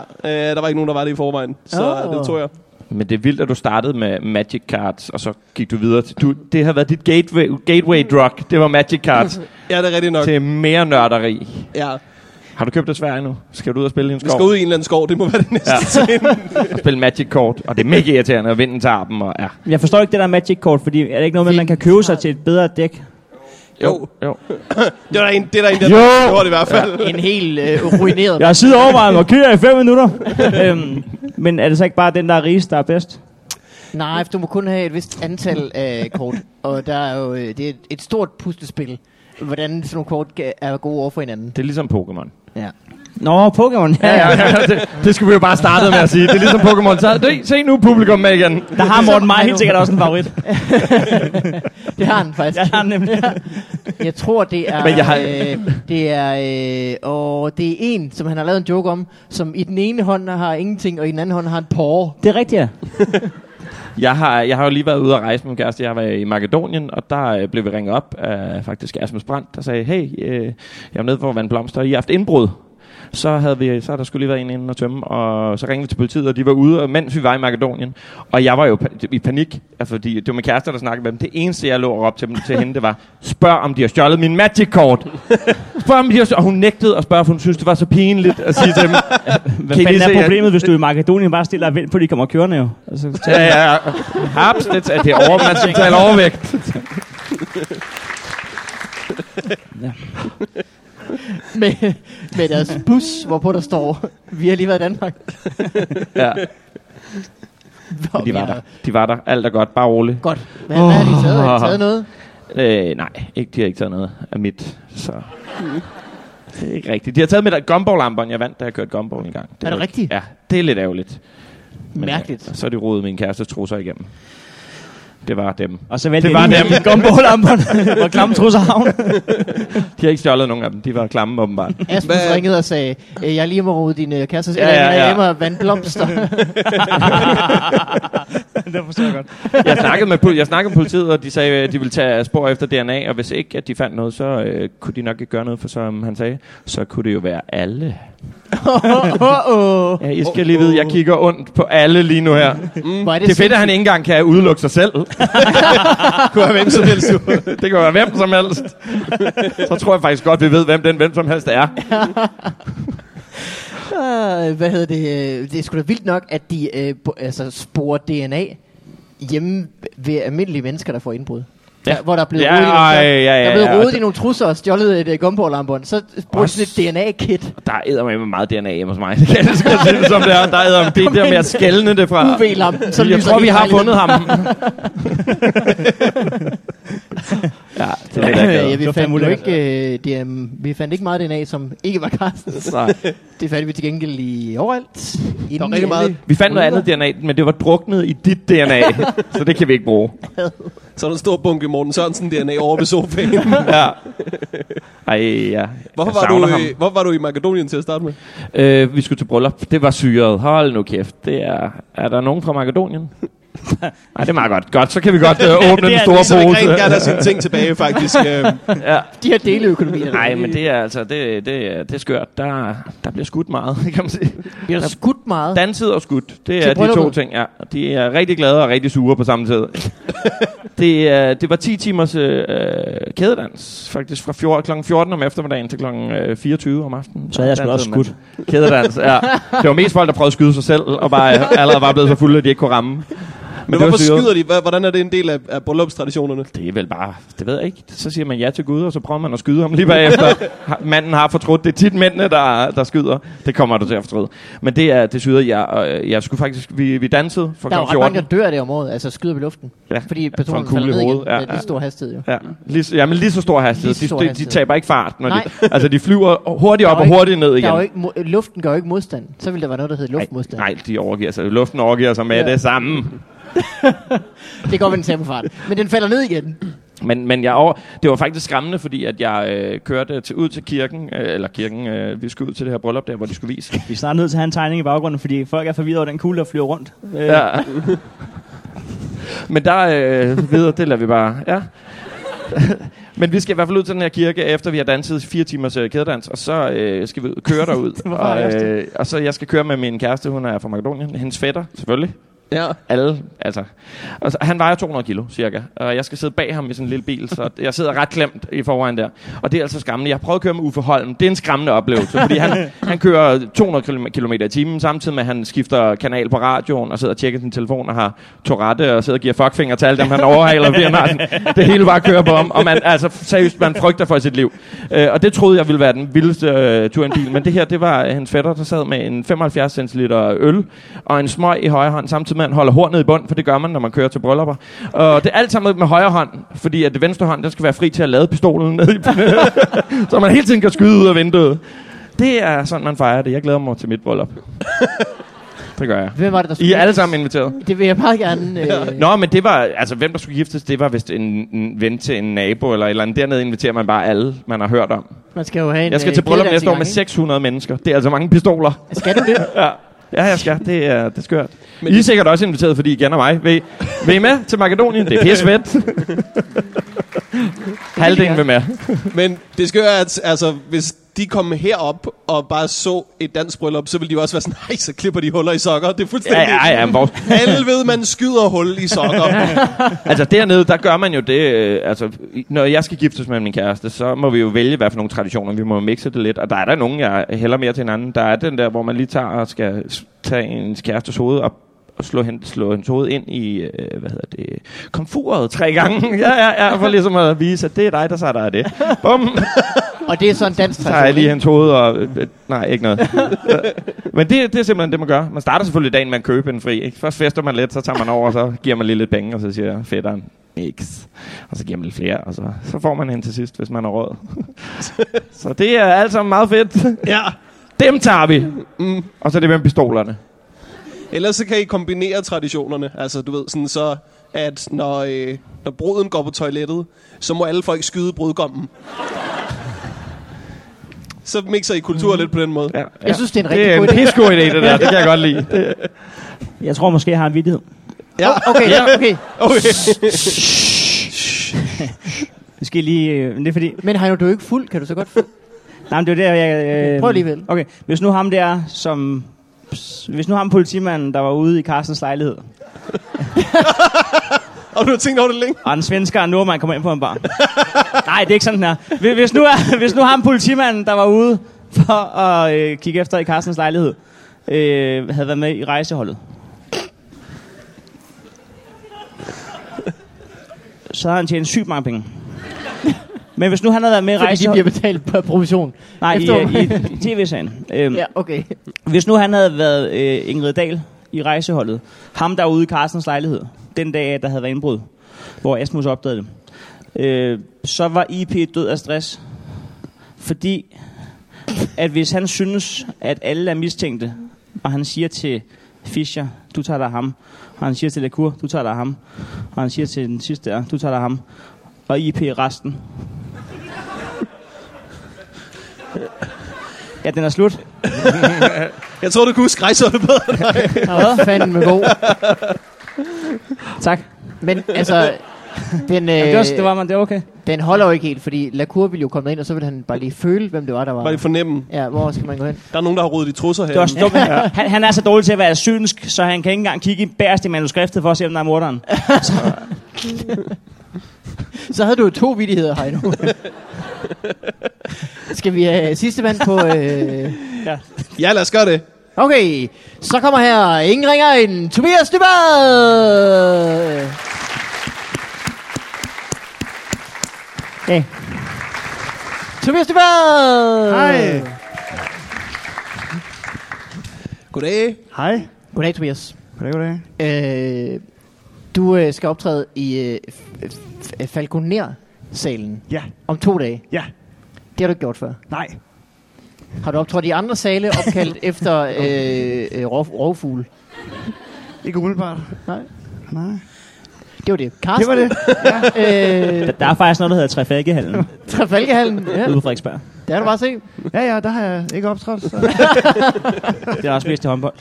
Speaker 1: øh, der var ikke nogen, der var det i forvejen, så
Speaker 2: Åh.
Speaker 1: det tror jeg.
Speaker 4: Men det er vildt, at du startede med Magic Cards, og så gik du videre til... Du, det har været dit gateway, gateway drug. Det var Magic Cards
Speaker 1: Ja, det er rigtigt nok.
Speaker 4: til mere nørderi.
Speaker 1: Ja.
Speaker 4: Har du købt det svære nu? Skal du ud og spille i en
Speaker 1: Vi skal
Speaker 4: skov?
Speaker 1: ud i en eller anden skov, det må være det næste. (laughs)
Speaker 4: Spille Magic Kort, og det er mega irriterende, og vinden tager dem, og ja.
Speaker 3: Jeg forstår ikke det der Magic-kort, fordi er det ikke noget med, at man kan købe sig til et bedre dæk?
Speaker 1: Jo.
Speaker 4: jo.
Speaker 1: Det er der en, det er der, en, der
Speaker 4: Jo!
Speaker 1: gjorde det i hvert fald.
Speaker 2: En helt øh, ruineret.
Speaker 3: Jeg har siddet over mig og markeret i fem minutter. (laughs) øhm, men er det så ikke bare den, der er rigest, der er bedst?
Speaker 2: Nej, for du må kun have et vist antal øh, kort, og der er jo, øh, det er et- et stort puslespil, hvordan sådan nogle kort ga- er gode over for hinanden.
Speaker 4: Det er ligesom Pokémon.
Speaker 2: Ja.
Speaker 3: Nå, Pokémon. Ja, ja. (laughs)
Speaker 4: ja, det, (laughs) det skulle vi jo bare starte med at sige. Det er ligesom Pokémon. Så, det, se nu publikum med igen.
Speaker 3: Der har Morten Maj helt sikkert også en (laughs) favorit.
Speaker 2: Det har han faktisk.
Speaker 3: Jeg har nemlig.
Speaker 2: Jeg tror, det er...
Speaker 4: Men jeg har-
Speaker 2: øh, det er... Øh, og det er en, som han har lavet en joke om, som i den ene hånd har ingenting, og i den anden hånd har en porre.
Speaker 3: Det er rigtigt, ja.
Speaker 4: Jeg har, jeg har jo lige været ude at rejse med min kæreste. Jeg var i Makedonien, og der øh, blev vi ringet op af faktisk Asmus Brandt, der sagde, hey, øh, jeg er nede for at vande blomster, og I har haft indbrud. Så havde vi, så havde der skulle lige været en inden at tømme, og så ringede vi til politiet, og de var ude, og mens vi var i Makedonien. Og jeg var jo pa- i panik, altså, fordi det var min kæreste, der snakkede med dem. Det eneste, jeg lå og råbte til, dem, til hende, det var, spørg om de har stjålet min magic-kort. Spørg om de har stjålet. Og hun nægtede at spørge, for hun synes, det var så pinligt at sige til dem.
Speaker 3: Hvad
Speaker 4: Kan I
Speaker 3: fanden
Speaker 4: se,
Speaker 3: er
Speaker 4: at-
Speaker 3: problemet, hvis du er i Makedonien bare stiller og venter på, at de kommer kørende jo? Altså,
Speaker 4: Ja, ja, ja. Haps, det, er- det er over, man skal tale overvægt.
Speaker 2: med, med deres bus, hvorpå der står, vi har lige været i Danmark.
Speaker 4: Ja.
Speaker 2: Hvor
Speaker 4: De var der. De var der. Alt er godt. Bare roligt.
Speaker 2: Godt. Hvad, hvad har de taget? Har de taget noget?
Speaker 4: Øh, nej, ikke, de har ikke taget noget af mit. Så.
Speaker 2: Mm.
Speaker 4: Det er ikke rigtigt. De har taget mit gumball jeg vandt, da jeg kørte gumball en gang.
Speaker 2: Er det
Speaker 4: var-
Speaker 2: rigtigt?
Speaker 4: Ja, det er lidt ærgerligt. Men,
Speaker 2: Mærkeligt.
Speaker 4: øh, så er de rodet min kærestes trusser igennem. Det var dem.
Speaker 3: og så vælger
Speaker 4: Det var
Speaker 3: de
Speaker 4: dem.
Speaker 3: en (laughs) gumbålamperen og klamme trusser havn.
Speaker 4: De har ikke stjålet nogen af dem. De var
Speaker 2: (laughs)
Speaker 4: klamme, åbenbart.
Speaker 2: Asmus
Speaker 1: Hvad-
Speaker 2: ringede og sagde, "Øh, jeg er lige må rode din øh, kæreste.
Speaker 4: Ja,
Speaker 2: Ja,
Speaker 4: ja,
Speaker 2: ja,
Speaker 4: ja.
Speaker 2: ja. Emma vandblomster.
Speaker 3: (laughs) det forstår jeg godt.
Speaker 4: Jeg snakkede med, pol- jeg snakkede med politiet, og de sagde, at de ville tage spor efter DNA, og hvis ikke, at de fandt noget, så øh, kunne de nok ikke gøre noget, for som han sagde, så kunne det jo være alle.
Speaker 2: oh, oh.
Speaker 4: Ja, I skal lige vide, jeg kigger ondt på alle lige nu her.
Speaker 2: Hvor Mm. er
Speaker 4: Det er fedt,
Speaker 2: sindssygt.
Speaker 4: at han ikke engang kan udelukke sig
Speaker 2: (laughs)
Speaker 4: selv.
Speaker 1: kunne være hvem som helst. jo.
Speaker 4: det kan være hvem som helst. Så tror jeg faktisk godt, vi ved, hvem den hvem som helst er.
Speaker 2: Øh, hvad hedder det? øh, Det er sgu da vildt nok, at de øh, bo- altså, sporer DNA hjemme ved almindelige mennesker, der får indbrud.
Speaker 4: Ja.
Speaker 2: Ja. Der, hvor der er blevet
Speaker 4: Ja,
Speaker 2: rodet, i nogle,
Speaker 4: ja, ja, ja,
Speaker 2: der er blevet
Speaker 4: ja,
Speaker 2: rodet
Speaker 4: og det-
Speaker 2: i nogle trusser og stjålet et øh, gumball-armbånd. Så bruger de sådan et DNA-kit.
Speaker 4: Der er eddermame meget DNA hjemme hos mig. Det kan jeg skal sige det, som det er. Der er eddermame, det er der med at skælne det fra.
Speaker 2: UV-lampen, så
Speaker 4: jeg
Speaker 2: lyser
Speaker 4: tror, vi
Speaker 2: hele
Speaker 4: har
Speaker 2: lejligheden.
Speaker 4: fundet
Speaker 2: (laughs)
Speaker 4: ham. ja, det er
Speaker 2: (laughs)
Speaker 4: da
Speaker 2: ja,
Speaker 4: glad.
Speaker 2: vi
Speaker 3: var
Speaker 2: fandt
Speaker 3: fandme
Speaker 2: jo
Speaker 3: ulækkert.
Speaker 2: ikke, øh, det, um, vi fandt ikke meget DNA, som ikke var Carstens.
Speaker 4: Nej.
Speaker 2: Det fandt vi til gengæld i overalt.
Speaker 1: Der
Speaker 2: Inden
Speaker 1: var rigtig meget.
Speaker 4: Vi fandt noget andet DNA, men det var druknet i dit DNA, så det kan vi ikke bruge.
Speaker 1: Så er der en stor bunke Morten Sørensen DNA over ved
Speaker 4: (laughs)
Speaker 1: sofaen.
Speaker 4: Ja. Ej, ja.
Speaker 1: Hvorfor
Speaker 4: Jeg
Speaker 1: var,
Speaker 4: savner
Speaker 1: du, øh, i, hvorfor var du i Makedonien til at starte med?
Speaker 4: Øh, vi skulle til bryllup. Det var syret. Hold nu kæft. Det er, er der nogen
Speaker 1: (laughs)
Speaker 4: fra Makedonien? Nej, det er meget godt. Godt, så kan vi godt øh, åbne
Speaker 3: Det
Speaker 4: den
Speaker 3: er
Speaker 4: store
Speaker 1: Så vil Gren gerne
Speaker 4: pose.
Speaker 1: have sine ting tilbage,
Speaker 4: (laughs)
Speaker 1: faktisk. Øh,
Speaker 4: Ja.
Speaker 2: De her deleøkonomier.
Speaker 4: Nej, men det er altså, det, det, er- det er skørt. Der, der bliver skudt meget, (laughs) kan man sige.
Speaker 2: bliver der skudt meget.
Speaker 4: Danset og skudt, det
Speaker 2: Til
Speaker 4: er de to
Speaker 2: brylluppet?
Speaker 4: ting, ja. De er rigtig glade og rigtig sure på
Speaker 2: (laughs)
Speaker 4: samme tid. det, er, det var 10 timers øh, kædedans, faktisk, fra fjor, kl. 14 om eftermiddagen til kl. 24 om aftenen.
Speaker 3: Så havde jeg sgu da også
Speaker 4: Dansede
Speaker 3: skudt.
Speaker 4: man. Kædedans, ja.
Speaker 3: (laughs)
Speaker 4: Det var mest folk, der prøvede at skyde sig selv, og bare, allerede var blevet så fulde, at de ikke kunne ramme. Men,
Speaker 1: men
Speaker 4: det var
Speaker 1: hvorfor
Speaker 4: syret.
Speaker 1: skyder de? Hva- Hvordan er det en del af, af bryllupstraditionerne?
Speaker 4: Det er vel bare, det ved jeg ikke. Så siger man ja til Gud, og så prøver man at skyde ham lige bagefter. Har- Manden har fortrudt. Det er tit mændene, der, der skyder. Det kommer du til at fortryde. Men det er, det syder jeg. Og øh, jeg skulle faktisk, vi, vi dansede fra
Speaker 2: Der er jo
Speaker 4: kl.
Speaker 2: ret mange,
Speaker 4: 14.
Speaker 2: der dør af det om året, altså skyder ved luften.
Speaker 4: Ja,
Speaker 2: Fordi
Speaker 4: for en
Speaker 2: personen
Speaker 4: kugle
Speaker 2: falder
Speaker 4: i
Speaker 2: ned igen
Speaker 4: hovedet, ja,
Speaker 2: med
Speaker 4: ja.
Speaker 2: lige stor hastighed. Jo.
Speaker 4: Ja, lige, så- jamen lige så stor hastighed.
Speaker 2: Lige så
Speaker 4: Lige
Speaker 2: stor
Speaker 4: de, de, de
Speaker 2: hastighed.
Speaker 4: taber ikke fart. Når de,
Speaker 2: Nej.
Speaker 4: (laughs) altså, de flyver hurtigt
Speaker 2: Der er
Speaker 4: op
Speaker 2: jo
Speaker 4: og
Speaker 2: ikke-
Speaker 4: hurtigt ned igen.
Speaker 2: Der er jo ikke, mo- luften gør jo ikke modstand. Så ville der være noget, der hedder luftmodstand.
Speaker 4: Nej, de overgiver sig. Luften overgiver sig med ja.
Speaker 2: Ja.
Speaker 4: det samme.
Speaker 2: Det går med den samme fart. Men den falder ned igen.
Speaker 4: Men, men jeg over, det var faktisk skræmmende, fordi at jeg øh, kørte til, ud til kirken, øh, eller kirken, øh, vi skulle ud til det her bryllup der, hvor de skulle vise.
Speaker 3: Vi er snart nødt til at have en tegning i baggrunden, fordi folk er forvirret over den kugle, der flyver rundt. Øh,
Speaker 4: Ja. Men der øh, videre, det lader vi bare. Ja. Men vi skal i hvert fald ud til den her kirke, efter vi har danset fire timers øh, kædedans, og så øh, skal vi ud- køre derud.
Speaker 2: Hvorfor har
Speaker 4: og,
Speaker 2: jeg
Speaker 4: øh, og så jeg skal køre med min kæreste, hun er fra Makedonien, hendes fætter, selvfølgelig.
Speaker 1: Ja.
Speaker 4: Alle, altså. Og så, han vejer 200 kilo, cirka. Og jeg skal sidde bag ham i sådan en lille bil, så jeg sidder ret klemt i forvejen der. Og det er altså skræmmende. Jeg har prøvet at køre med Uffe Holm. Det er en skræmmende oplevelse, fordi han, han kører 200 km i timen, samtidig med, at han skifter kanal på radioen og sidder og tjekker sin telefon og har Tourette og sidder og giver fuckfinger til alle dem, han overhaler, fordi han har sådan, det hele bare kører på ham. Og man, altså, seriøst, man frygter for sit liv. Øh, og det troede jeg ville være den vildeste øh, tur i en bil, men det her, det var øh, hans fætter, der sad med en 75 centiliter øl og en smøg i højre hånd, samtidig med, at han holder hornet i bund, for det gør man, når man kører til bryllupper. Og det er alt sammen med højre hånd, fordi at det venstre hånd, den skal være fri til at lade pistolen ned i så man hele tiden kan skyde ud af vinduet. Det er sådan, man fejrer det. Jeg glæder mig til mit bryllup. det gør jeg.
Speaker 2: Hvem var det, der
Speaker 4: I
Speaker 2: skulle
Speaker 4: er alle sammen inviteret.
Speaker 2: Det vil jeg meget gerne... Øh,
Speaker 4: Nå, men det var, altså hvem der skulle giftes, det var vist en, en ven til en nabo eller et eller andet. Dernede inviterer man bare alle, man har hørt om.
Speaker 2: man skal jo have en
Speaker 4: Jeg skal
Speaker 2: øh,
Speaker 4: til bryllup
Speaker 2: kædedans i
Speaker 4: næste år
Speaker 2: gang,
Speaker 4: med
Speaker 2: ikke?
Speaker 4: 600 mennesker. Det er altså mange pistoler.
Speaker 2: Skal du det?
Speaker 4: Ja, jeg skal. Det er, det er skørt. Men I er sikkert også inviteret, fordi I kender mig. Vil, I- vil I med til Makedonien? Det er
Speaker 2: (laughs)
Speaker 4: pisse fedt. Halvdelen vil med.
Speaker 1: Men det skal jo at altså, hvis de kom herop og bare så et dansk bryllup, så ville de jo også være sådan, nej, så klipper de huller i sokker. Det er
Speaker 4: Ja,
Speaker 1: fuldstændig...
Speaker 4: ja, ja. men Vores,
Speaker 1: Alle ved, man skyder hul i
Speaker 4: (laughs)
Speaker 1: sokker.
Speaker 4: Altså dernede, der gør man jo det, øh, altså i- når jeg skal giftes med min kæreste, så må vi jo vælge, hvad for nogle traditioner, vi må jo mixe det lidt. Og der er der nogen, jeg hælder mere til hinanden. Der er den der, hvor man lige tager og skal s- tage ens kærestes hoved op og slå, hen, slå hendes hoved ind i, øh, hvad hedder det, komfuret tre gange. (laughs) ja, ja, ja, for ligesom at vise, at det er dig, der så der er det. Bum,
Speaker 2: Og det er sådan en
Speaker 4: (laughs)
Speaker 2: dansk
Speaker 4: så tager jeg
Speaker 2: tradition,
Speaker 4: lige hendes hoved og... Øh, øh, nej, ikke noget. (laughs) Men det, det er simpelthen det, man gør. Man starter selvfølgelig dagen med at købe en fri. Ikke? Først fester man lidt, så tager man over, og så giver man lige lidt penge, og så siger fætteren, niks. Og så giver man lidt flere, og så, så får man hende til sidst, hvis man har råd. (laughs) så det er alt sammen meget fedt.
Speaker 1: ja.
Speaker 4: Dem tager vi. Mm. Og så er det med pistolerne.
Speaker 1: Ellers så kan I kombinere traditionerne. Altså, du ved, sådan så, at når, øh, når bruden går på toilettet, så må alle folk skyde brudgommen. Så mixer I kultur lidt på den måde.
Speaker 4: Ja,
Speaker 2: Jeg synes, det er en
Speaker 4: det
Speaker 2: rigtig
Speaker 4: er
Speaker 2: god
Speaker 4: en
Speaker 2: idé.
Speaker 4: pissegod idé, det der. Det kan jeg godt lide. Det,
Speaker 3: Jeg tror måske, jeg har en vidighed.
Speaker 1: Ja,
Speaker 2: Okay,
Speaker 4: Ja.
Speaker 2: okay.
Speaker 1: okay.
Speaker 3: Vi skal lige... Øh, men det er fordi...
Speaker 2: Men Heino, du er jo ikke fuld, kan du så godt...
Speaker 4: (laughs)
Speaker 3: Nej, men det er der, jeg... øh,
Speaker 2: Prøv alligevel.
Speaker 3: Okay, hvis nu ham der, som... Hvis nu ham politimanden, der var ude i Carstens lejlighed,
Speaker 1: Og du har tænkt over det længe?
Speaker 3: og en svensker og
Speaker 2: (laughs)
Speaker 3: en nordmand kommer ind på en bar. Nej, det er ikke sådan, den er. Hvis- Hvis nu, er, hvis nu ham politimanden, der var ude for at øh, kigge efter i Carstens lejlighed, øh, havde været med i rejseholdet. Så har han tjent sygt mange
Speaker 2: (laughs)
Speaker 3: penge. Men hvis nu han havde været med i
Speaker 2: Fordi de
Speaker 3: rejseholdet...
Speaker 2: bliver betalt på provision.
Speaker 3: Nej, i,
Speaker 2: efter-
Speaker 3: øh, i
Speaker 2: (laughs)
Speaker 3: tv-sagen.
Speaker 4: (laughs)
Speaker 3: Øhm,
Speaker 2: Ja, okay.
Speaker 3: Hvis nu han havde været øh, Ingrid Dahl i rejseholdet, ham der ude i Carstens lejlighed, den dag, der havde været indbrud, hvor Asmus opdagede det, øh, så var IP død af stress. Fordi, at hvis han synes, at alle er mistænkte, og han siger til Fischer, du tager dig af ham, og han siger til Lacour, du tager dig af ham, og han siger til den sidste der, du tager dig af ham, og IP resten. Ja, den er slut.
Speaker 1: Jeg tror, du kunne huske rejseholdet bedre.
Speaker 2: Han var fandme god.
Speaker 3: Tak.
Speaker 2: Men
Speaker 4: (laughs)
Speaker 2: altså, den, øh,
Speaker 3: Jamen, det, var, det var man, det var okay.
Speaker 2: den holder jo ikke helt, fordi Lacour ville jo komme ind, og så ville han bare lige føle, hvem det var, der var.
Speaker 1: Var det fornemme?
Speaker 2: Ja, hvor skal man gå hen?
Speaker 1: Der er nogen, der har rodet i trusser her.
Speaker 3: Det var
Speaker 5: Øhm.
Speaker 3: stumt.
Speaker 5: (laughs)
Speaker 3: Han, han er så dårlig til at være synsk, så han kan ikke engang kigge i bagerst i manuskriptet for at se, om der er
Speaker 5: (laughs)
Speaker 3: morderen.
Speaker 2: Så havde du jo to vidigheder, Heino. skal vi have sidste mand på... Øh...
Speaker 1: Ja, lad os gøre det.
Speaker 2: Okay, så kommer her ingen ringer end Tobias Dybad!
Speaker 3: Okay.
Speaker 2: Tobias Dybad!
Speaker 5: Hej.
Speaker 1: Goddag.
Speaker 5: Hej.
Speaker 2: Goddag, Tobias.
Speaker 5: Goddag, goddag.
Speaker 2: Øh, du øh, skal optræde i øh, f- f- Falconer-salen
Speaker 5: Ja,
Speaker 2: om to dage.
Speaker 5: ja,
Speaker 2: Det har du ikke gjort før.
Speaker 5: nej.
Speaker 2: Har du optrådt i andre sale opkaldt efter øh, øh, rov, rovfugle?
Speaker 5: Ikke umiddelbart.
Speaker 2: Nej.
Speaker 5: Nej.
Speaker 2: Det var det.
Speaker 5: Det
Speaker 2: Carsten,
Speaker 5: var det.
Speaker 2: det. (laughs)
Speaker 3: Der,
Speaker 2: Øh,
Speaker 3: der er faktisk noget, der hedder Trafalgehallen
Speaker 2: Trafalgarhallen. Ja,
Speaker 3: ude på Frederiksberg.
Speaker 2: det har du bare set.
Speaker 5: Ja, ja, der har jeg ikke optrådt. Så.
Speaker 3: Det er også mest til håndbold.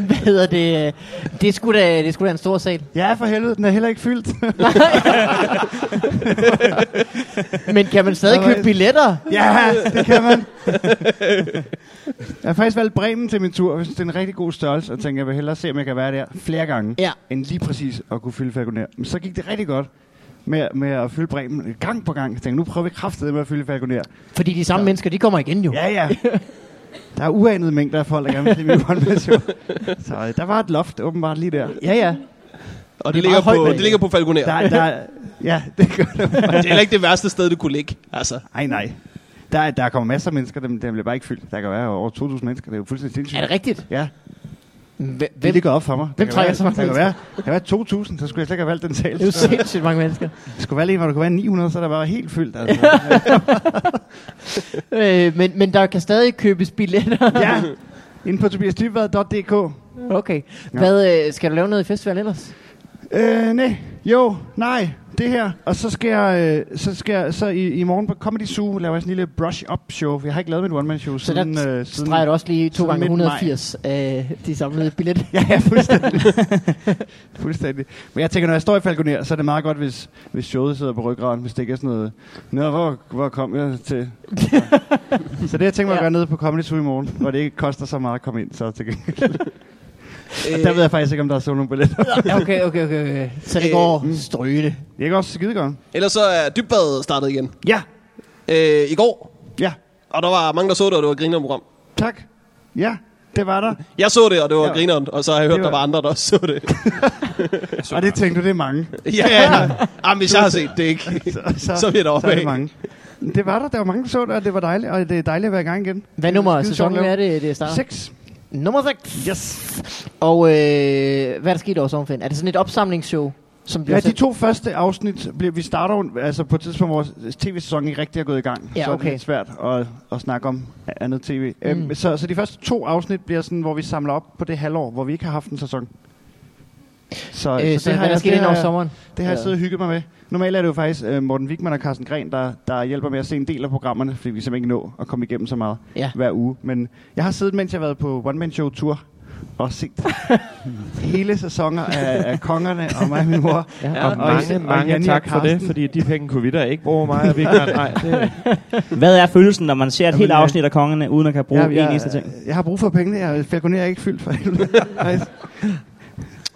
Speaker 2: Hvad hedder det? Det skulle da, det skulle da en stor sal.
Speaker 5: Ja, for helvede, den er heller ikke fyldt.
Speaker 2: Men kan man stadig
Speaker 5: Der var
Speaker 2: købe
Speaker 5: et-
Speaker 2: billetter?
Speaker 5: ja, det kan man. Jeg har faktisk valgt Bremen til min tur. Jeg synes, Det er en rigtig god størrelse, og tænker, jeg vil hellere se, om jeg kan være der flere gange,
Speaker 2: Ja.
Speaker 5: end lige præcis at kunne fylde Falconer. Men så gik det rigtig godt med, med at fylde Bremen gang på gang. Jeg tænkte, nu prøver vi kraftedet med at fylde Falconer.
Speaker 2: Fordi de samme mennesker, de kommer igen jo.
Speaker 5: Ja, ja. Der er uanede mængder af folk, der gerne vil se min (laughs) one-man-show. Så øh, der var et loft åbenbart lige der.
Speaker 2: ja. ja.
Speaker 1: Og det,
Speaker 2: Det er
Speaker 1: ligger,
Speaker 2: meget højt,
Speaker 1: på,
Speaker 2: men-
Speaker 1: det ligger på Falconer.
Speaker 5: Der, der, ja, (laughs) det gør det.
Speaker 1: Det er heller ikke det værste sted, det kunne ligge. Altså.
Speaker 5: Ej, nej. Der, er- der kommer masser af mennesker, dem, dem bliver bare ikke fyldt. Der kan være over 2.000 mennesker, det er jo fuldstændig sindssygt.
Speaker 2: Er det rigtigt?
Speaker 5: Ja,
Speaker 2: Hvem,
Speaker 5: det ligger op for mig.
Speaker 2: hvem trækker så mange
Speaker 5: mennesker? Der kan være, der kan være 2.000, så skulle jeg slet ikke have valgt den
Speaker 2: det er jo
Speaker 5: tale. Så,
Speaker 2: sindssygt mange mennesker.
Speaker 5: der skulle valgt en, hvor der kunne være 900, så er der bare helt fyldt. Altså.
Speaker 2: Øh, men, men der kan stadig købes billetter.
Speaker 5: ja, inde på tobiasdybvad.dk.
Speaker 2: (laughs) Okay. Hvad, øh, skal du lave noget i festivalen ellers?
Speaker 5: Øh, nej, jo, nej, det her. Og så skal jeg, øh, så skal jeg, så i, i morgen på Comedy Zoo laver jeg sådan en lille brush-up show, for jeg har ikke lavet mit one-man-show
Speaker 2: Så der
Speaker 5: siden... øh, siden
Speaker 2: Streger du også lige to
Speaker 5: siden
Speaker 2: gange
Speaker 5: midt maj.
Speaker 2: 180 af øh, de samlede billetter.
Speaker 5: (laughs) Ja, ja, fuldstændig. fuldstændig. Men jeg tænker, når jeg står i Falconer, så er det meget godt, hvis, hvis showet sidder på ryggraden, hvis det ikke er sådan noget, Nå, hvor, hvor kom jeg til? så det, jeg tænker mig at
Speaker 2: Ja.
Speaker 5: gøre nede på Comedy Zoo i morgen, hvor det ikke koster så meget at komme ind, så til gengæld. Og
Speaker 1: Øh,
Speaker 5: der ved jeg faktisk ikke, om der er solgt nogle billetter.
Speaker 2: (laughs) Ja, okay, okay, okay, okay. Så det
Speaker 1: Øh,
Speaker 2: går strygende.
Speaker 5: Det er også skide godt.
Speaker 1: Ellers så er dybbadet startet igen.
Speaker 5: Ja,
Speaker 1: Øh, I går.
Speaker 5: ja,
Speaker 1: Og der var mange, der så det, og det var et grineren program.
Speaker 5: tak. Ja, det var der.
Speaker 1: Jeg så det, og det var
Speaker 5: Ja.
Speaker 1: grineren. Og så har jeg hørt,
Speaker 5: Det
Speaker 1: der
Speaker 5: var-
Speaker 1: var andre, der også så det.
Speaker 5: Og det tænkte du, det er mange.
Speaker 1: ja, ja. Jamen, hvis jeg har set det ikke, så
Speaker 5: Så,
Speaker 1: er vi da
Speaker 5: så er det
Speaker 1: oppe
Speaker 5: mange. Det var der, der var mange, der så det, og det var dejligt, og det er dejligt at være i gang igen.
Speaker 2: Hvad nummer af
Speaker 5: Skide sjovt
Speaker 2: sæsonen
Speaker 5: lavet.
Speaker 2: er det, det starter?
Speaker 5: Seks.
Speaker 2: Nummer 6. Yes. Og øh, hvad er der sket over sommerferien? Er det sådan et opsamlingsshow? Som bliver
Speaker 5: Ja, de
Speaker 2: sendt?
Speaker 5: to første afsnit, bliver, vi starter jo altså på et tidspunkt, hvor tv-sæsonen ikke rigtig er gået i gang.
Speaker 2: Ja,
Speaker 5: så er
Speaker 2: okay.
Speaker 5: det lidt svært at, at snakke om andet tv. Mm. Øhm, så, så de første to afsnit bliver sådan, hvor vi samler op på det halvår, hvor vi ikke har haft en sæson. Så,
Speaker 2: øh, så, så hvad er der
Speaker 5: jeg-
Speaker 2: sket ind
Speaker 5: har
Speaker 2: over
Speaker 5: jeg-
Speaker 2: sommeren?
Speaker 5: det har jeg
Speaker 2: Ja.
Speaker 5: siddet og hygget mig med. Normalt er det jo faktisk øh, Morten Wigman og Carsten Gren, der, der hjælper med at se en del af programmerne, fordi vi simpelthen ikke nå at komme igennem så meget
Speaker 2: Ja.
Speaker 5: hver uge. Men jeg har siddet, mens jeg har været på One Man Show Tour, og set
Speaker 3: (laughs)
Speaker 5: hele sæsoner af, af kongerne og mig og min mor.
Speaker 2: Ja.
Speaker 4: Og mange,
Speaker 5: og
Speaker 4: mange
Speaker 5: Janni og
Speaker 4: tak for det,
Speaker 5: Carsten.
Speaker 4: fordi de penge kunne vi da ikke bruge mig. Vi kan, nej, det,
Speaker 3: Hvad er følelsen, når man ser et
Speaker 5: Jamen,
Speaker 3: helt
Speaker 5: øh,
Speaker 3: afsnit af Kongerne, uden at kan bruge
Speaker 5: jeg,
Speaker 3: en
Speaker 5: jeg,
Speaker 3: eneste ting?
Speaker 5: jeg har brug for pengene. Jeg falconer er
Speaker 3: (laughs)
Speaker 5: ikke fyldt for helvede.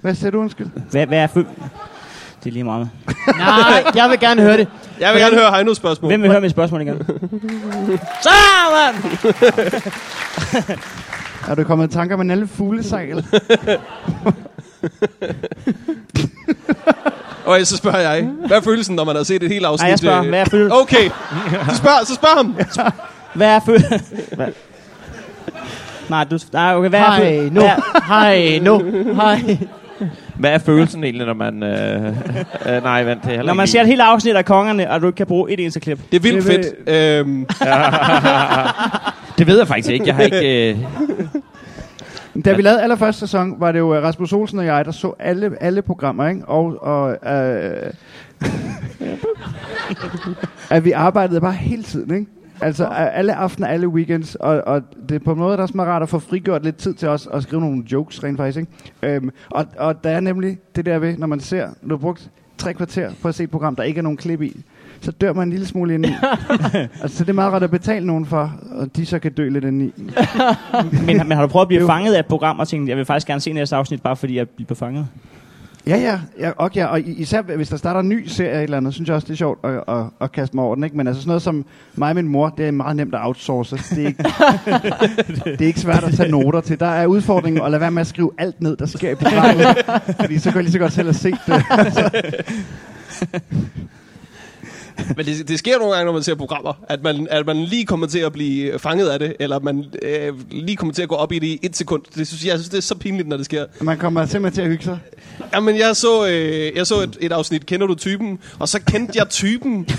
Speaker 5: Hvad siger du, undskyld?
Speaker 3: Hvad, hvad er fø- Det er lige meget.
Speaker 2: Nej, (laughs) jeg vil gerne høre det.
Speaker 1: Jeg vil gerne høre Heinos spørgsmål.
Speaker 3: Hvem vil høre mit spørgsmål
Speaker 5: (laughs)
Speaker 3: igen? Så, mand!
Speaker 5: Er du kommet i tanker om en alle fuglesejl?
Speaker 1: Okay, så spørger jeg. Hvad er følelsen, når man har set et helt afsnit?
Speaker 3: Nej, jeg spørger.
Speaker 1: øh,
Speaker 3: Hvad er følelsen?
Speaker 1: Okay, så spørg, så spørg ham.
Speaker 3: Hvad er følelsen? Nej, du... Nej, okay, hvad er
Speaker 2: Hej,
Speaker 3: følelsen?
Speaker 2: nu. Hej, nu. Hej.
Speaker 4: Hvad er følelsen egentlig, når man... Øh, (laughs) øh, nej, vent, det er heller
Speaker 3: Når man
Speaker 4: ikke
Speaker 3: ser et helt afsnit af Kongerne, og du ikke kan bruge et eneste klip.
Speaker 1: Det er vildt
Speaker 5: Det vil-
Speaker 1: fedt. Øhm,
Speaker 4: Det ved jeg faktisk ikke. Jeg har ikke... Øh,
Speaker 5: da vi lavede allerførste sæson, var det jo øh, Rasmus Olsen og jeg, der så alle, alle programmer, ikke? Og, og øh, (laughs) at vi arbejdede bare hele tiden, ikke? Altså øh, alle aftener, alle weekends, og, og det er på en måde, der er også meget rart at få frigjort lidt tid til os at skrive nogle jokes rent faktisk, ikke? Øhm, og, og der er nemlig det der ved, når man ser, du har brugt tre kvarter på at se et program, der ikke er nogen klip i, så dør man en lille smule indeni. altså, så det er meget rart at betale nogen for, og de så kan dø lidt indeni.
Speaker 3: Men, men har du prøvet at blive fanget af et program og tænkt, jeg vil faktisk gerne se næste afsnit, bare fordi jeg bliver fanget?
Speaker 5: Ja, ja, ja, og, ja, og i- især hvis der starter en ny serie eller andet, synes jeg også, det er sjovt at, at, at kaste mig over den. Ikke? Men altså sådan noget som mig og min mor, det er meget nemt at outsource. Det er (laughs) ikke, det er ikke svært at tage noter til. Der er udfordringen at lade være med at skrive alt ned, der sker i programmet. fordi så kan jeg lige så godt selv have set det.
Speaker 1: men det, det sker nogle gange, når man ser programmer, at man, at man lige kommer til at blive fanget af det, eller at man øh, lige kommer til at gå op i det i et sekund. Det synes, jeg jeg synes, det er så pinligt, når det sker.
Speaker 5: Man kommer simpelthen til at hygge sig.
Speaker 1: Jamen, jeg så, øh, jeg så et, et afsnit, Kender du typen? Og så kendte jeg typen. det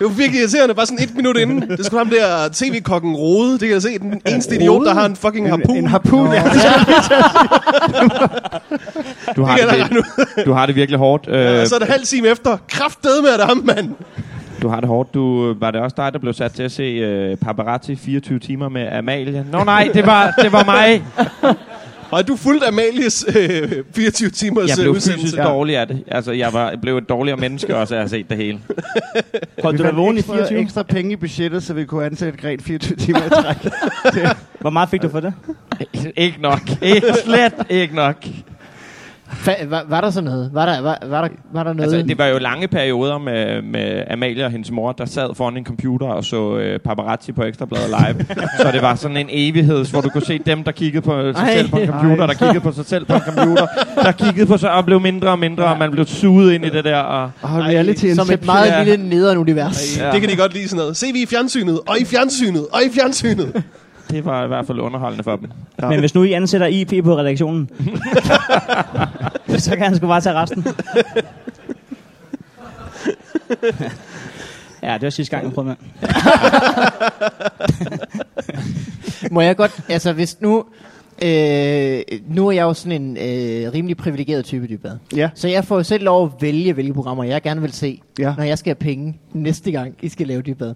Speaker 1: var virkelig irriterende, bare sådan et minut inden. Det skulle ham der tv-kokken Rode, det kan jeg se. Den eneste idiot, der har en fucking harpun.
Speaker 5: En, en
Speaker 4: (laughs)
Speaker 5: harpun, ja.
Speaker 4: du, har
Speaker 1: Det kan jeg
Speaker 4: det, vir- du har det virkelig hårdt. Øh,
Speaker 1: Og så er det halv time efter. Kraftedeme med det ham, mand.
Speaker 4: Du har det hårdt. Du, var det også dig, der blev sat til at se øh, Paparazzi 24 timer med Amalie? Nå nej, det var, det var mig.
Speaker 1: Og er du fuldt Amalies øh, 24
Speaker 4: Jeg
Speaker 1: timers øh,
Speaker 4: blev
Speaker 1: udsendelse?
Speaker 4: fysisk dårlig af det. Altså, jeg var, blev et dårligere menneske også, af at have set det hele.
Speaker 3: Holdt
Speaker 5: Vi
Speaker 3: du dig vågen
Speaker 5: fandt
Speaker 3: i
Speaker 5: ekstra,
Speaker 3: 24?
Speaker 5: ekstra penge i budgettet, så vi kunne ansætte Gret 24 timer i træk.
Speaker 3: Hvor meget fik du for det?
Speaker 4: ikke nok. Ikke, slet ikke nok.
Speaker 2: Fa- var, var, der sådan noget? Var der, var, var der, var der noget?
Speaker 4: Altså, det var jo lange perioder med, med Amalie og hendes mor, der sad foran en computer og så øh, paparazzi på Ekstrabladet live. så det var sådan en evighed, hvor du kunne se dem, der kiggede på sig
Speaker 2: Ej.
Speaker 4: selv på en computer, der kiggede på sig selv på en computer, der kiggede på sig og blev mindre og mindre, og man blev suget ind i det der. Og,
Speaker 5: Og reality
Speaker 2: som et
Speaker 5: Inception.
Speaker 2: meget
Speaker 4: Ja.
Speaker 2: lille nederen univers.
Speaker 1: Ja. Det kan de godt lide sådan noget. Se, vi er i fjernsynet, og i fjernsynet, og i fjernsynet.
Speaker 4: Det var i hvert fald underholdende for dem.
Speaker 3: Men hvis nu I ansætter IP på redaktionen, så kan han sgu bare tage resten. ja, det var sidste gang, jeg prøvede med.
Speaker 2: Må jeg godt, altså hvis nu, øh, nu er jeg jo sådan en øh, rimelig privilegeret type dybad.
Speaker 5: Ja.
Speaker 2: Så jeg får jo selv lov at vælge, hvilke programmer jeg gerne vil se,
Speaker 5: Ja.
Speaker 2: når jeg skal have penge næste gang, I skal lave dybad.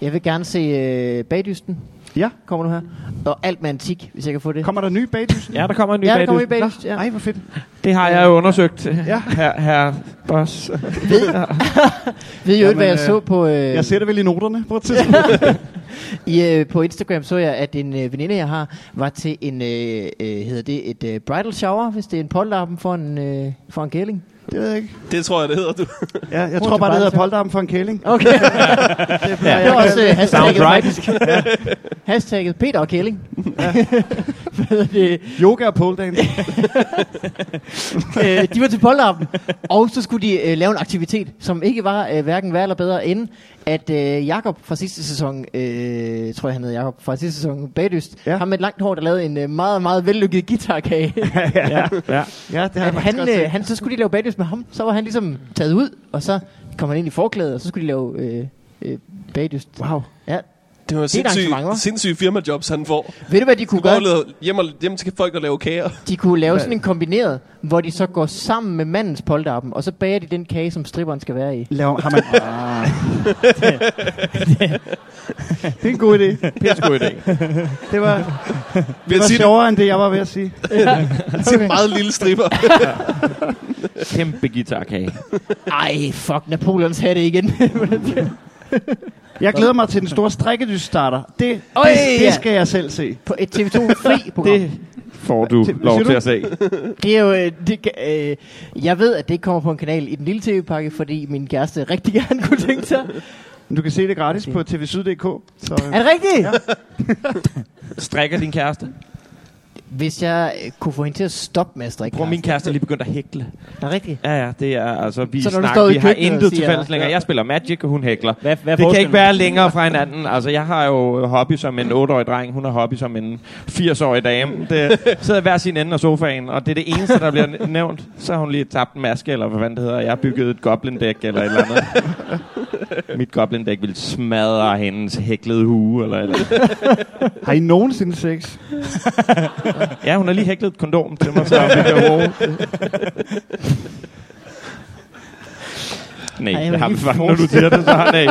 Speaker 2: Jeg vil gerne se øh, Bagdysten,
Speaker 5: ja.
Speaker 2: kommer nu her, og alt med antik, hvis jeg kan få det.
Speaker 5: Kommer der nye bagdyst?
Speaker 4: Ja, der kommer en ny
Speaker 2: ja, der
Speaker 4: bag-
Speaker 2: kommer i
Speaker 4: det-
Speaker 2: Bagdysten. Ja.
Speaker 5: Ej, hvor fedt.
Speaker 4: Det har jeg jo undersøgt, ja.
Speaker 5: Ja.
Speaker 4: her, her boss.
Speaker 2: Ved I jo ikke, hvad jeg
Speaker 5: Jamen, øh,
Speaker 2: så på, øh,
Speaker 5: Jeg ser det vel i noterne
Speaker 2: (laughs)
Speaker 5: på et tidspunkt.
Speaker 2: i, øh, på Instagram, så jeg, at en øh, veninde, jeg har, var til en, øh, øh, hedder det, et øh, bridal shower, hvis det er en polterappen for en, øh, for en gæling.
Speaker 5: Det ved jeg ikke.
Speaker 1: Det tror jeg, det hedder du.
Speaker 5: Ja, jeg
Speaker 2: Brug
Speaker 5: tror
Speaker 2: til
Speaker 5: bare, det hedder
Speaker 2: brændsel.
Speaker 5: polterarm for en kæling.
Speaker 4: (laughs)
Speaker 2: Okay. ja, det var også uh, hashtagget,
Speaker 4: Sounds right.
Speaker 2: faktisk. hashtagget Peter og Kælling. (laughs) Hvad hedder det?
Speaker 5: Yoga og pole dance.
Speaker 2: Øh, de var til polterappen, og så skulle de øh, lave en aktivitet, som ikke var øh, hverken værre eller bedre end, at øh, Jakob fra sidste sæson, øh, tror jeg han hed Jakob fra sidste sæson, Bagdyst, ja.
Speaker 5: Ja.
Speaker 2: ham med et langt hår, der lavede en øh, meget, meget vellykket
Speaker 5: (laughs)
Speaker 2: guitarkage.
Speaker 4: ja, ja.
Speaker 5: ja, det har
Speaker 2: at
Speaker 5: jeg faktisk
Speaker 2: han,
Speaker 5: godt set.
Speaker 2: øh, han, så skulle de lave bagdyst med ham, så var han ligesom taget ud, og så kom han ind i forklædet, og så skulle de lave øh, øh, bagdyst. Wow. Ja.
Speaker 1: Det var
Speaker 2: et arrangement, hva'?
Speaker 1: sindssyge, sindssyge firmajobs, han får.
Speaker 2: Ved du, hvad de
Speaker 1: Du
Speaker 2: kunne gøre?
Speaker 1: går hjem, og, hjem til folk og lave kager.
Speaker 2: De kunne lave sådan en kombineret, hvor de så går sammen med mandens polterappen, og så bager de den kage, som stripperen skal være i.
Speaker 5: Laver, har man... Ah. det er en god idé.
Speaker 4: Det er en god idé.
Speaker 5: Det var,
Speaker 1: Vi
Speaker 5: det
Speaker 1: har
Speaker 5: var
Speaker 1: tit
Speaker 5: sjovere end det, jeg var ved at sige.
Speaker 1: (laughs) en meget lille stripper.
Speaker 4: (laughs) Kæmpe guitarkage.
Speaker 2: Ej, fuck, Napoleons hatte igen. (laughs)
Speaker 5: Jeg glæder mig til den store strikkedyst starter. Det,
Speaker 2: Øj,
Speaker 5: det,
Speaker 2: ja.
Speaker 5: det skal jeg selv se.
Speaker 2: På et TV2 fri program.
Speaker 4: Det
Speaker 2: Det.
Speaker 4: får du
Speaker 5: Hvad
Speaker 4: lov
Speaker 5: siger
Speaker 4: til
Speaker 5: du?
Speaker 4: at se.
Speaker 2: Det er jo, øh, det, kan- øh, jeg ved, at det ikke kommer på en kanal i den lille tv-pakke, fordi min kæreste rigtig gerne kunne tænke sig.
Speaker 5: Du kan se det gratis på tvsyd.dk. Så, øh,
Speaker 2: Er det rigtigt? Ja.
Speaker 4: Strikker din kæreste?
Speaker 2: Hvis jeg øh, kunne få hende til at stoppe med at strikke.
Speaker 4: Bror, min kæreste er lige begyndt at hækle.
Speaker 2: Er det rigtigt?
Speaker 4: Ja, ja, det er altså, vi,
Speaker 2: Så når du
Speaker 4: snak,
Speaker 2: står i
Speaker 4: vi har
Speaker 2: køkkenet og
Speaker 4: intet til
Speaker 2: siger-
Speaker 4: fælles længere. Jeg spiller Magic, og hun hækler.
Speaker 3: Hvad, hvad er
Speaker 4: Det kan
Speaker 3: forskellen?
Speaker 4: ikke være længere fra hinanden. Altså, jeg har jo hobby som en 8-årig dreng, hun har hobby som en 80-årig dame. Det sidder i hver sin ende af sofaen, og det er det eneste, der bliver n- nævnt. Så har hun lige tabt en maske, eller hvad fanden det hedder. Jeg har bygget et goblin-dæk, eller et eller andet. Mit goblin-dæk ville smadre hendes hæklede hue, eller, et eller andet.
Speaker 5: har I nogensinde sex?
Speaker 4: Ja, hun har lige hæklet et kondom til mig, så vi kan bruge. Nej,
Speaker 2: Ej, jeg
Speaker 4: det har
Speaker 2: vil
Speaker 4: vi
Speaker 2: lige
Speaker 4: faktisk, når du siger det, så har nej.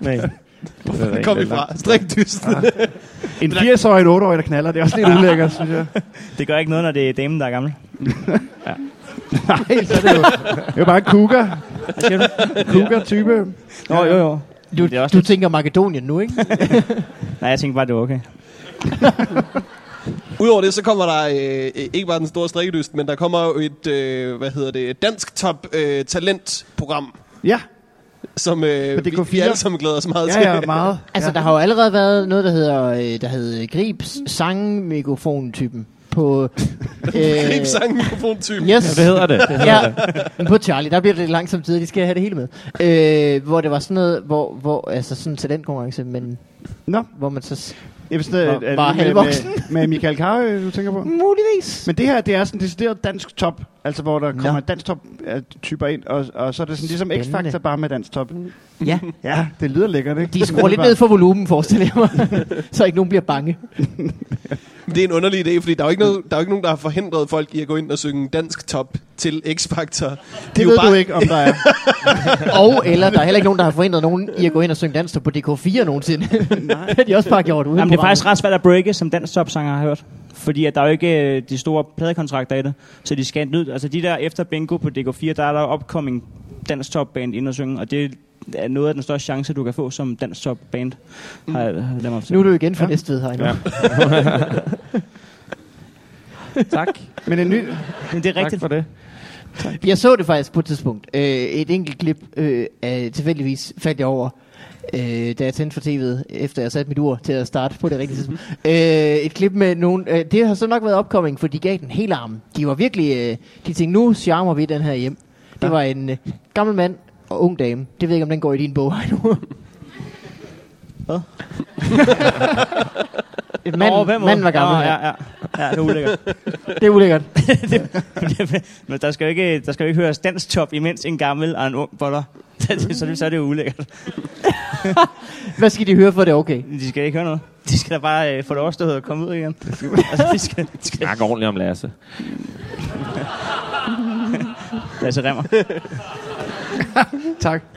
Speaker 4: Nej. Hvorfor
Speaker 1: Kom ifra. Strikdysten.
Speaker 5: En 80-årig og en 8-årig, der knaller. Det er også lidt udlækkert, synes jeg.
Speaker 3: Det gør ikke noget, når det er damen, der er gammel.
Speaker 5: Nej, så er det jo. Det er jo bare en cougar. Cougar-type.
Speaker 3: Nå, jo, jo.
Speaker 2: Du,
Speaker 3: Det er også
Speaker 2: du tænker Makedonien nu, ikke?
Speaker 3: Nej, jeg tænkte bare, det var okay.
Speaker 1: Udover det, så kommer der øh, øh, ikke bare den store strikkedyst, men der kommer jo et, øh, hvad hedder det, dansk top øh, talentprogram,
Speaker 5: Ja,
Speaker 1: som øh,
Speaker 5: På
Speaker 1: vi,
Speaker 5: DK4.
Speaker 1: vi alle sammen glæder os meget til.
Speaker 5: ja, ja,
Speaker 1: (laughs)
Speaker 5: meget.
Speaker 2: Altså,
Speaker 5: ja.
Speaker 2: der har jo allerede været noget, der hedder, øh, der hedder Gribs sangmikrofon-typen på...
Speaker 1: Øh,
Speaker 2: øh,
Speaker 1: Grib sangmikrofon-typen.
Speaker 2: Yes.
Speaker 4: Hvad hedder det?
Speaker 2: ja, (laughs) men på Charlie, der bliver det lidt langsomt tid, de skal have det hele med. Øh, hvor det var sådan noget, hvor, hvor altså sådan en talentkonkurrence, men
Speaker 5: Nå,
Speaker 2: hvor man så s-
Speaker 5: jeg vil sådan,
Speaker 2: Nå,
Speaker 5: er det
Speaker 2: bare
Speaker 5: med,
Speaker 2: halvvoksen.
Speaker 5: med, med Michael Carøe, du tænker på?
Speaker 2: muligvis.
Speaker 5: Men det her, det er sådan decideret dansk top. Altså, hvor der kommer
Speaker 2: Nå.
Speaker 5: dansk top-typer ind, og, og så er det sådan ligesom
Speaker 2: Spændende.
Speaker 5: X-Factor bare med dansk top.
Speaker 2: Ja,
Speaker 5: (laughs) Ja, det lyder lækkert, ikke?
Speaker 2: de skruer lidt ned for volumen, forestiller jeg mig, (laughs) så ikke nogen bliver bange.
Speaker 1: Det er en underlig idé, fordi der er, jo ikke noget, der er jo ikke nogen, der har forhindret folk i at gå ind og synge dansk top til X-Factor.
Speaker 5: Det ved
Speaker 1: (laughs)
Speaker 5: du ikke, om
Speaker 2: (laughs)
Speaker 5: der er.
Speaker 2: Og eller, der er heller ikke nogen, der har forhindret nogen i at gå ind og synge dansk på DK4 nogensinde. Nej. (laughs) det har de også bare gjort uden
Speaker 3: Jamen, det er faktisk ret svært at breake, som dansk topsanger har jeg hørt. Fordi at der er jo ikke øh, de store pladekontrakter i det, så de skal ned. Altså de der efter bingo på DK4, der er der jo opkommende dansk topband ind og synge, og det er noget af den største chance, du kan få som dansk topband. Har jeg, har jeg lavet mig
Speaker 2: Nu er du igen fra ja. Næstved, Heino. Ja.
Speaker 4: tak.
Speaker 5: Men en ny...
Speaker 3: Men det er
Speaker 4: tak
Speaker 3: rigtigt.
Speaker 4: for det.
Speaker 2: Jeg så det faktisk på et tidspunkt. Øh, et enkelt klip øh, af, tilfældigvis faldt jeg over, øh, da jeg tændte for tv'et, efter jeg satte mit ur til at starte på det rigtige
Speaker 3: Mhm.
Speaker 2: tidspunkt. øh, et klip med nogen... Øh, det har så nok været opkoming, for de gav den hele armen. De var virkelig... Øh, de tænkte, nu charmer vi den her hjem. Det var en øh, gammel mand og ung dame. Det ved jeg ikke, om den går i din bog (laughs) nu. (laughs)
Speaker 3: Hvad?
Speaker 2: mand,
Speaker 3: Åh, hvem var-
Speaker 2: mand var gammel.
Speaker 3: Nå,
Speaker 2: ja.
Speaker 3: ja, ja. ja, det er ulækkert.
Speaker 2: Det er ulækkert.
Speaker 3: Men der skal jo ikke, der skal jo ikke høres dansk top, imens en gammel og en ung boller. (laughs) så, er det- så, er det- så er det jo ulækkert.
Speaker 2: Hvad skal de høre for, at det er okay?
Speaker 3: De skal ikke høre noget. De skal da bare øh, få det overstået og komme ud igen. altså, de skal, de skal
Speaker 4: Snak ordentligt om Lasse.
Speaker 3: Lasse Remmer.
Speaker 5: Tak.
Speaker 2: (laughs)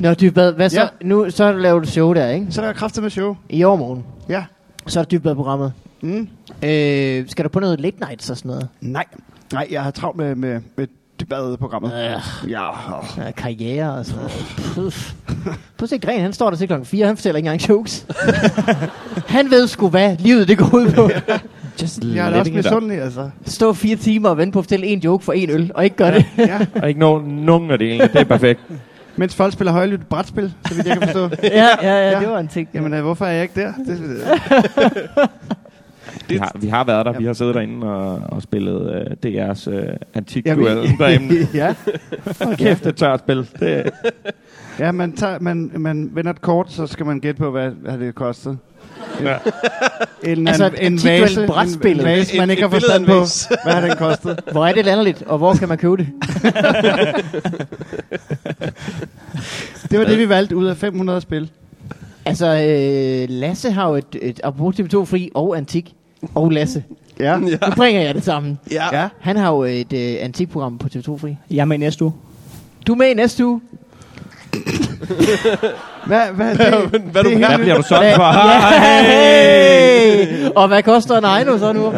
Speaker 2: Nå, Dybbad, hvad så?
Speaker 5: Ja.
Speaker 2: Nu, så laver du show der, ikke?
Speaker 5: Så er der kraftigt med show.
Speaker 2: I overmorgen.
Speaker 5: Ja.
Speaker 2: Så er det Dybbad-programmet.
Speaker 5: Mm.
Speaker 2: Øh, skal du på noget late nights og sådan noget?
Speaker 5: Nej. Nej, jeg har travlt med, med, med debatprogrammet.
Speaker 2: Øh.
Speaker 5: Ja.
Speaker 2: Øh, karriere og sådan noget? Puff. Prøv at se, Gren, han står der til klokken 4, han fortæller ikke engang (laughs) jokes. han ved sgu hvad livet det går ud på. (laughs)
Speaker 4: Just
Speaker 5: Jeg er da også misundelig, altså.
Speaker 2: Stå fire timer og vente på at fortælle en joke for en øl, og ikke gøre det.
Speaker 5: Ja.
Speaker 4: Og ikke nogen, nogen af delene. Det er perfekt.
Speaker 5: Mens folk spiller højlydt brætspil, så vidt jeg kan forstå.
Speaker 2: (laughs) ja, ja,
Speaker 5: Ja.
Speaker 2: ja, det var en ting.
Speaker 5: Jamen, øh, hvorfor er jeg ikke der? Det,
Speaker 2: (laughs)
Speaker 5: øh,
Speaker 4: Vi har, vi har været der. Vi har siddet derinde og, og spillet øh, DR's øh, antikduel
Speaker 5: Jamen,
Speaker 4: derinde.
Speaker 5: (laughs) ja.
Speaker 4: Hold kæft, det er et tørt spil. Det,
Speaker 5: ja, man, tager, man, man vender et kort, så skal man gætte på, hvad, hvad det kostet.
Speaker 4: Ja.
Speaker 5: En,
Speaker 2: Altså,
Speaker 5: en,
Speaker 2: et
Speaker 5: en,
Speaker 2: antikduelt
Speaker 5: vase, en,
Speaker 2: brætspil.
Speaker 5: en vase, man
Speaker 1: Et-
Speaker 5: ikke har
Speaker 1: et billede af
Speaker 5: forstand
Speaker 1: en
Speaker 5: på.
Speaker 1: vase.
Speaker 5: (laughs) Hvad har den kostet?
Speaker 2: Hvor er det landligt, og hvor kan man købe det?
Speaker 5: Det var det, vi valgte ud af 500 spil.
Speaker 2: Altså, øh, Lasse har jo et, et apropos TV2 Fri og Antik, og Lasse.
Speaker 5: Ja.
Speaker 2: Nu bringer jeg det sammen.
Speaker 1: Ja. ja.
Speaker 5: Ja.
Speaker 2: Han har jo et øh, antikprogram på TV2 Fri.
Speaker 3: (laughs) Jeg er med i næste uge.
Speaker 2: Du er med i næste uge.
Speaker 5: Hvad, hvad er det?
Speaker 1: men hvad er du-
Speaker 5: det
Speaker 4: der
Speaker 5: er helt
Speaker 4: bliver
Speaker 5: nyt.
Speaker 4: du sådan for.
Speaker 2: Hey! Og hvad koster en Ejno så nu?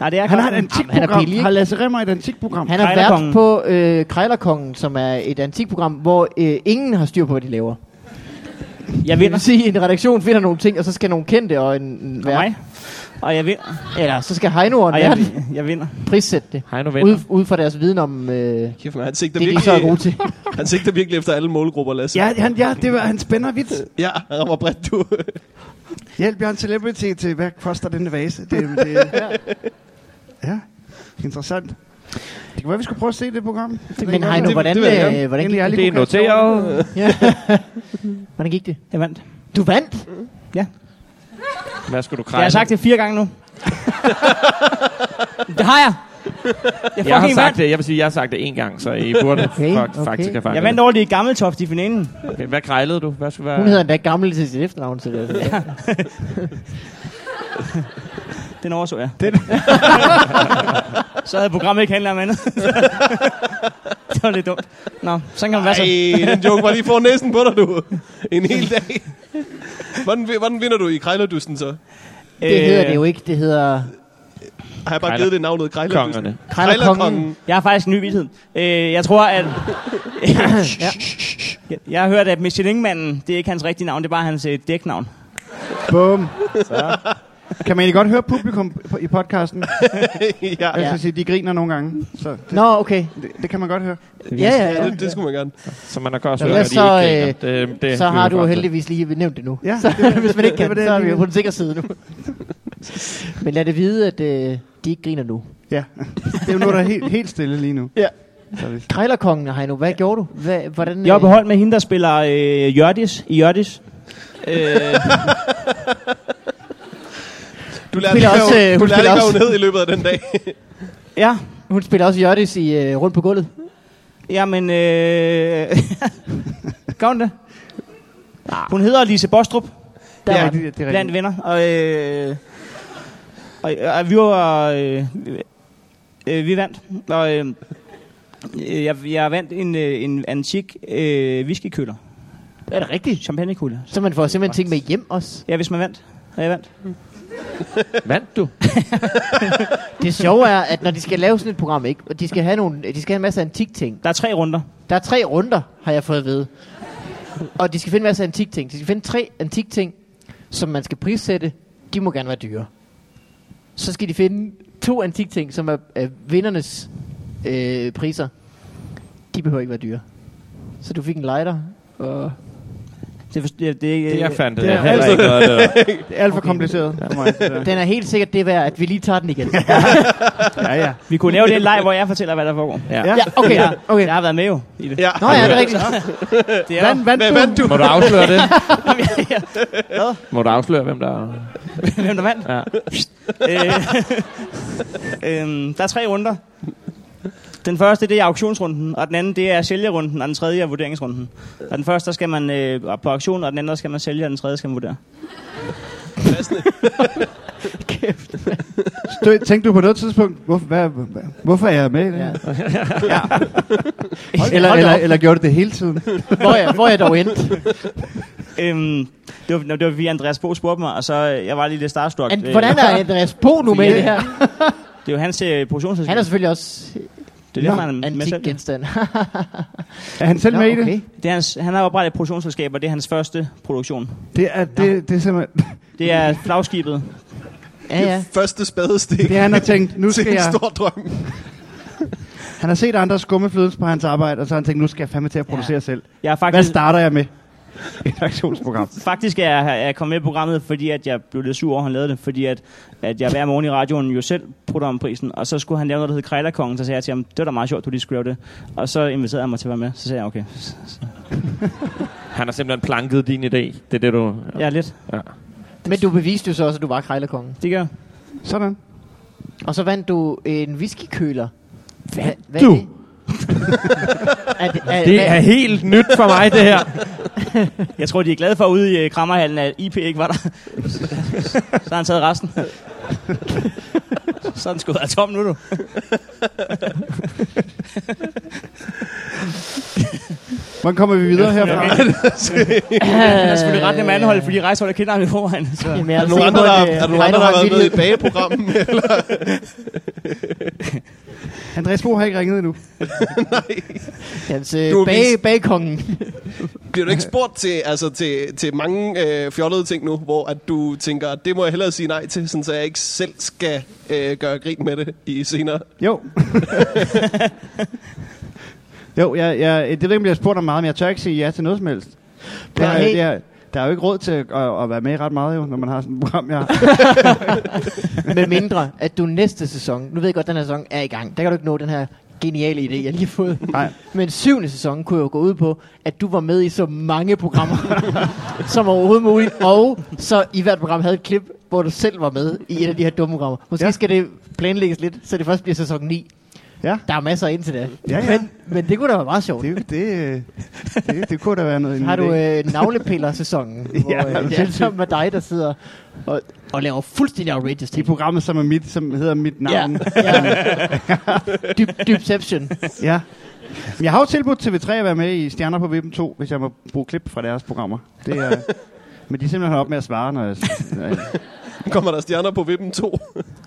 Speaker 3: Nej, det er
Speaker 5: Han
Speaker 2: Jamen, han
Speaker 3: Carsten.
Speaker 5: har et
Speaker 2: er
Speaker 5: antikprogram.
Speaker 2: billig, ikke?
Speaker 5: Har Lasse Remmer et antikprogram?
Speaker 2: Han er vært
Speaker 3: Krejlerkongen.
Speaker 2: på øh, Krejlerkongen, som er et antikprogram, hvor øh, ingen har styr på, hvad de laver.
Speaker 3: Jeg
Speaker 2: Det vil
Speaker 3: vinder.
Speaker 2: sige, at en redaktion finder nogle ting, og så skal nogle kendte og en, en
Speaker 3: Og
Speaker 2: vært.
Speaker 3: mig. Og jeg vinder.
Speaker 2: Eller så skal Heino og
Speaker 3: Og
Speaker 2: en
Speaker 3: jeg,
Speaker 2: vært
Speaker 3: jeg vinder.
Speaker 2: prissætte det.
Speaker 4: Hej nu
Speaker 2: Ud,
Speaker 4: venner.
Speaker 2: ud fra deres viden om øh, det,
Speaker 1: Kæft, man, han sigter,
Speaker 2: de så er gode
Speaker 1: virkelig,
Speaker 2: til.
Speaker 1: han sigter virkelig efter alle målgrupper, Lasse.
Speaker 5: Ja, han, ja det var, han spænder vidt.
Speaker 1: ja han rammer bredt, du.
Speaker 5: Hjælp, jeg er en celebrity til, hvad koster denne vase? Det, det, (laughs) ja, interessant. Det kan være, vi skulle prøve at se det program. Det
Speaker 2: Men
Speaker 5: kan
Speaker 2: Heino,
Speaker 5: være,
Speaker 2: hvordan,
Speaker 1: det vil jeg gerne.
Speaker 2: øh, hvordan,
Speaker 5: Egentlig
Speaker 2: gik,
Speaker 5: aldrig
Speaker 4: Det er
Speaker 5: kunne kaste over
Speaker 4: noteret.
Speaker 2: hvordan gik det?
Speaker 3: Jeg vandt.
Speaker 2: Du vandt!
Speaker 4: Hvad skal du kræve?
Speaker 3: Jeg har sagt det fire gange (laughs) nu. det har jeg. Jeg,
Speaker 4: jeg har
Speaker 3: fucking
Speaker 4: sagt
Speaker 3: vandt.
Speaker 4: det. Jeg vil sige, jeg har sagt det en gang, så I burde
Speaker 2: Okay,
Speaker 4: okay, faktisk
Speaker 2: okay.
Speaker 4: have fanget
Speaker 3: Jeg vandt over de gamle toft i finalen.
Speaker 4: det. Okay, hvad krejlede du? Hvad skulle være?
Speaker 2: Hun hedder endda gammel til sit efternavn, så det er altså-
Speaker 3: Den overså jeg. Den. (laughs) så havde programmet ikke handlet om (laughs) andet. det var lidt dumt. Nå, sådan kan man være så.
Speaker 1: Ej, den joke var lige for næsen på dig, du. En hel dag. Hvordan, vi- hvordan vinder du i Krejlerdusten, så?
Speaker 3: Øh,
Speaker 2: Det hedder det jo ikke. Det hedder...
Speaker 1: Har jeg bare
Speaker 4: Krejler-
Speaker 1: givet det navnet Krejlerdusten?
Speaker 4: Kongerne.
Speaker 1: Krejlerkongen.
Speaker 3: Jeg har faktisk en ny vildhed. Øh, jeg tror, at...
Speaker 2: Ja.
Speaker 3: Jeg- jeg har hørt, at Michelin-manden, det er ikke hans rigtige navn, det er bare hans øh, dæknavn.
Speaker 5: Bum. Kan man egentlig godt høre publikum på- i podcasten?
Speaker 1: (laughs) ja,
Speaker 5: Jeg
Speaker 2: Ja.
Speaker 5: skal sige, de griner nogle gange, så
Speaker 2: Nå, okay.
Speaker 5: det, det kan man godt høre.
Speaker 2: Ja, ja,
Speaker 1: ja,
Speaker 2: ja.
Speaker 1: det, det skulle man gerne.
Speaker 4: Så man har godt
Speaker 2: Nå,
Speaker 4: hørt, at
Speaker 2: så,
Speaker 4: I ikke
Speaker 2: øh,
Speaker 4: griner. det, det,
Speaker 2: Så har
Speaker 4: hører
Speaker 2: du
Speaker 4: folk til.
Speaker 2: heldigvis lige nævnt det nu.
Speaker 5: Ja,
Speaker 2: så, (laughs) hvis man ikke
Speaker 5: det
Speaker 2: kan,
Speaker 5: var
Speaker 2: det,
Speaker 5: det,
Speaker 2: så er vi
Speaker 5: jeg
Speaker 2: jo på den sikre side nu. Men lad det vide, at øh, de ikke griner nu.
Speaker 5: Ja, det er jo noget, der er helt, helt stille lige nu.
Speaker 2: Ja.
Speaker 5: Så er det-
Speaker 2: Krejlerkongen, Heino, hvad gjorde du? Hvad, hvordan,
Speaker 3: Jeg var
Speaker 2: øh,
Speaker 3: på hold med hende, der spiller øh, Jørdis, i Jørdis. Øh,
Speaker 1: Du lærte
Speaker 2: spiller
Speaker 1: ikke,
Speaker 2: også,
Speaker 1: hvad
Speaker 2: øh,
Speaker 1: hun, du
Speaker 2: hun
Speaker 1: lærte
Speaker 2: spiller
Speaker 1: ikke, hvad hun
Speaker 2: også.
Speaker 1: hed i løbet af den dag.
Speaker 3: ja,
Speaker 2: Hun spiller også Jørtis i øh, Rundt på gulvet.
Speaker 3: Jamen, øh... (laughs) Gør hun det? Hun hedder Lise Bostrup,
Speaker 2: Der
Speaker 1: Ja,
Speaker 2: ja, var den.
Speaker 5: det, det er
Speaker 3: blandt
Speaker 5: rigtigt.
Speaker 3: venner. Og, øh... og, og vi var... Øh... Øh, vi vandt. Og, øh... øh, Jeg, jeg vandt en, øh, en antik øh, whiskykøller.
Speaker 2: Er det rigtigt?
Speaker 3: Champagnekøller.
Speaker 2: Så man får simpelthen ting med hjem også.
Speaker 3: Ja, hvis man vandt. Og jeg vandt.
Speaker 4: Vandt du?
Speaker 2: Det sjove er, at når de skal lave sådan et program, ikke? Og de skal have, nogle, de skal have en masse antik ting.
Speaker 3: Der er tre runder.
Speaker 2: Der er tre runder, har jeg fået at vide. Og de skal finde en masse antik ting. De skal finde tre antik ting, som man skal prissætte. De må gerne være dyre. Så skal de finde to antik ting, som er, er vindernes øh, priser. De behøver ikke være dyre. Så du fik en lighter. Og
Speaker 3: Det, er øh, for- det, det,
Speaker 4: Det, jeg fandt det.
Speaker 5: det
Speaker 4: Det
Speaker 5: er
Speaker 4: er
Speaker 2: altså-
Speaker 4: heller ikke noget, af
Speaker 2: (laughs)
Speaker 4: det.
Speaker 5: Det er alt for kompliceret for mig. det der.
Speaker 2: den er helt sikkert det værd, at vi lige tager den igen.
Speaker 5: Ja, ja. (laughs)
Speaker 3: Vi kunne lave det leg, hvor jeg fortæller, hvad der foregår.
Speaker 2: Ja, okay.
Speaker 3: Ja.
Speaker 2: okay.
Speaker 3: Jeg har været med jo i det.
Speaker 1: Ja.
Speaker 2: Nå ja, det er rigtigt.
Speaker 3: det er,
Speaker 5: Vand, vand,
Speaker 1: Hvad vandt du?
Speaker 4: Må du afsløre det?
Speaker 3: (laughs) ja.
Speaker 4: Må du afsløre, hvem der er?
Speaker 3: Hvem der vandt?
Speaker 4: Ja.
Speaker 3: (laughs) øh, øh, der er tre runder. Den første, det er auktionsrunden, og den anden, det er sælgerunden, og den tredje er vurderingsrunden. Og den første, der skal man øh, på auktion, og den anden, der skal man sælge, og den tredje skal man vurdere.
Speaker 5: Stø, tænkte du på noget tidspunkt, hvorfor, hvad, hvad, hvorfor er jeg med i det?
Speaker 2: Ja.
Speaker 5: Ja. Eller,
Speaker 2: (laughs) hold da
Speaker 5: eller,
Speaker 2: op.
Speaker 5: eller gjorde du det hele tiden?
Speaker 2: Hvor er, hvor er jeg dog endt?
Speaker 3: Øhm, det, var, det var fordi Andreas Bo spurgte mig, og så øh, jeg var lige lidt starstruck.
Speaker 2: And, hvordan er Andreas Bo nu med i det her?
Speaker 3: Det er jo hans øh, produktionsselskab.
Speaker 2: Han er selvfølgelig også
Speaker 3: det er derfor,
Speaker 5: Nå,
Speaker 3: han er med
Speaker 2: antik
Speaker 3: selv.
Speaker 2: genstand.
Speaker 5: Er han
Speaker 2: (laughs)
Speaker 5: selv
Speaker 2: Nå,
Speaker 5: med i
Speaker 2: okay.
Speaker 5: det?
Speaker 3: Det er hans, han har oprettet et produktionsselskab, og det er hans første produktion.
Speaker 5: Det er, det, det er simpelthen...
Speaker 3: Det er
Speaker 2: (laughs)
Speaker 3: flagskibet.
Speaker 2: Ja, ja.
Speaker 1: Første spadestik
Speaker 5: Det er, han har
Speaker 1: (laughs)
Speaker 5: tænkt, nu
Speaker 1: til
Speaker 5: skal
Speaker 1: en
Speaker 5: jeg...
Speaker 1: stor drøm.
Speaker 5: Han har set andre skummeflydens på hans arbejde, og så har han tænkt, nu skal jeg fandme til at producere ja. selv.
Speaker 3: Jeg er
Speaker 5: Hvad
Speaker 3: faktisk,
Speaker 5: starter jeg med? Et aktionsprogram.
Speaker 3: Faktisk er jeg, er jeg kommet med i programmet, fordi at jeg blev lidt sur over, at han lavede det, fordi at, at jeg hver morgen i radioen jo selv putter om prisen, og så skulle han lave noget, der hed Krejlerkongen, så sagde jeg til ham, det var da meget sjovt, du lige skulle lave det. Og så inviterede han mig til at være med, så sagde jeg, okay, s- s-
Speaker 4: Han har simpelthen planket din idé. Det er det, du...
Speaker 3: ja, lidt,
Speaker 2: Men du beviste jo så også, at du var krejlerkongen.
Speaker 3: det gør jeg.
Speaker 5: Sådan.
Speaker 2: Og så vandt du en whiskykøler. Hvad, hvad
Speaker 4: du?
Speaker 2: Er det? (laughs) er det, er, (laughs)
Speaker 4: Det er helt nyt for mig, det her.
Speaker 3: Jeg tror, de er glade for ude i øh, krammerhallen, at IP ikke var der. så har han taget resten. så er den sgu være tom nu, du.
Speaker 5: Hvordan kommer vi videre herfra?
Speaker 3: Han er selvfølgelig ret nem at anholde, fordi rejseholdet kender ham i forvejen. Så.
Speaker 2: Jamen, jeg
Speaker 1: Er der nogen andre,
Speaker 2: sikker på,
Speaker 1: der,
Speaker 2: at, øh,
Speaker 1: er der, nogen andre,
Speaker 2: Heino
Speaker 1: der har
Speaker 2: en
Speaker 1: været med i
Speaker 2: vildhed.
Speaker 1: bageprogrammet? Eller?
Speaker 5: Andreas Bo har ikke ringet endnu.
Speaker 2: Hans øh,
Speaker 1: Du er
Speaker 2: bag,
Speaker 1: vist-
Speaker 2: bagkongen.
Speaker 1: (laughs) Bliver du ikke spurgt til, altså, til, til mange øh, fjollede ting nu, hvor at du tænker, at det må jeg hellere sige nej til, sådan, så jeg ikke selv skal øh, gøre grin med det i senere?
Speaker 5: Jo. (laughs) jo, jeg, jeg, det ved jeg ikke, om jeg spurgt om meget, men jeg tør ikke sige ja til noget som helst. Det er,
Speaker 2: Nej.
Speaker 5: det er, der er jo ikke råd til at, at, at være med i ret meget, jo, når man har sådan et program, jeg har.
Speaker 2: Med mindre, at du næste sæson, nu ved jeg godt, at den her sæson er i gang, der kan du ikke nå den her geniale idé, jeg lige har fået.
Speaker 5: Nej.
Speaker 2: Men syvende sæson kunne jo gå ud på, at du var med i så mange programmer (laughs) som overhovedet muligt, og så i hvert program havde et klip, hvor du selv var med i et af de her dumme programmer. Måske ja.
Speaker 5: Ja.
Speaker 2: skal det planlægges lidt, så det først bliver sæson 9.
Speaker 5: Ja.
Speaker 2: Der er masser indtil da.
Speaker 5: Ja, ja.
Speaker 2: Men, men det kunne da være meget sjovt.
Speaker 5: (laughs) Det, det, øh, det, det kunne da være noget. en
Speaker 2: Har
Speaker 5: idé.
Speaker 2: du øh, navlepiller-sæsonen, hvor
Speaker 5: (laughs) Ja,
Speaker 2: øh, det er sammen med dig, der sidder og, og laver fuldstændig outrageous
Speaker 5: I
Speaker 2: ting.
Speaker 5: programmet, som, er mit, som hedder Mit Navn.
Speaker 2: ja.
Speaker 5: (laughs)
Speaker 2: Dyb, dybception.
Speaker 5: Ja. Men Jeg har jo tilbudt TV3 at være med i Stjerner på Vippen 2, hvis jeg må bruge klip fra deres programmer. Det er, (laughs) men de er simpelthen holdt op med at svare, når jeg... Når jeg
Speaker 1: Kommer der stjerner på vippen 2?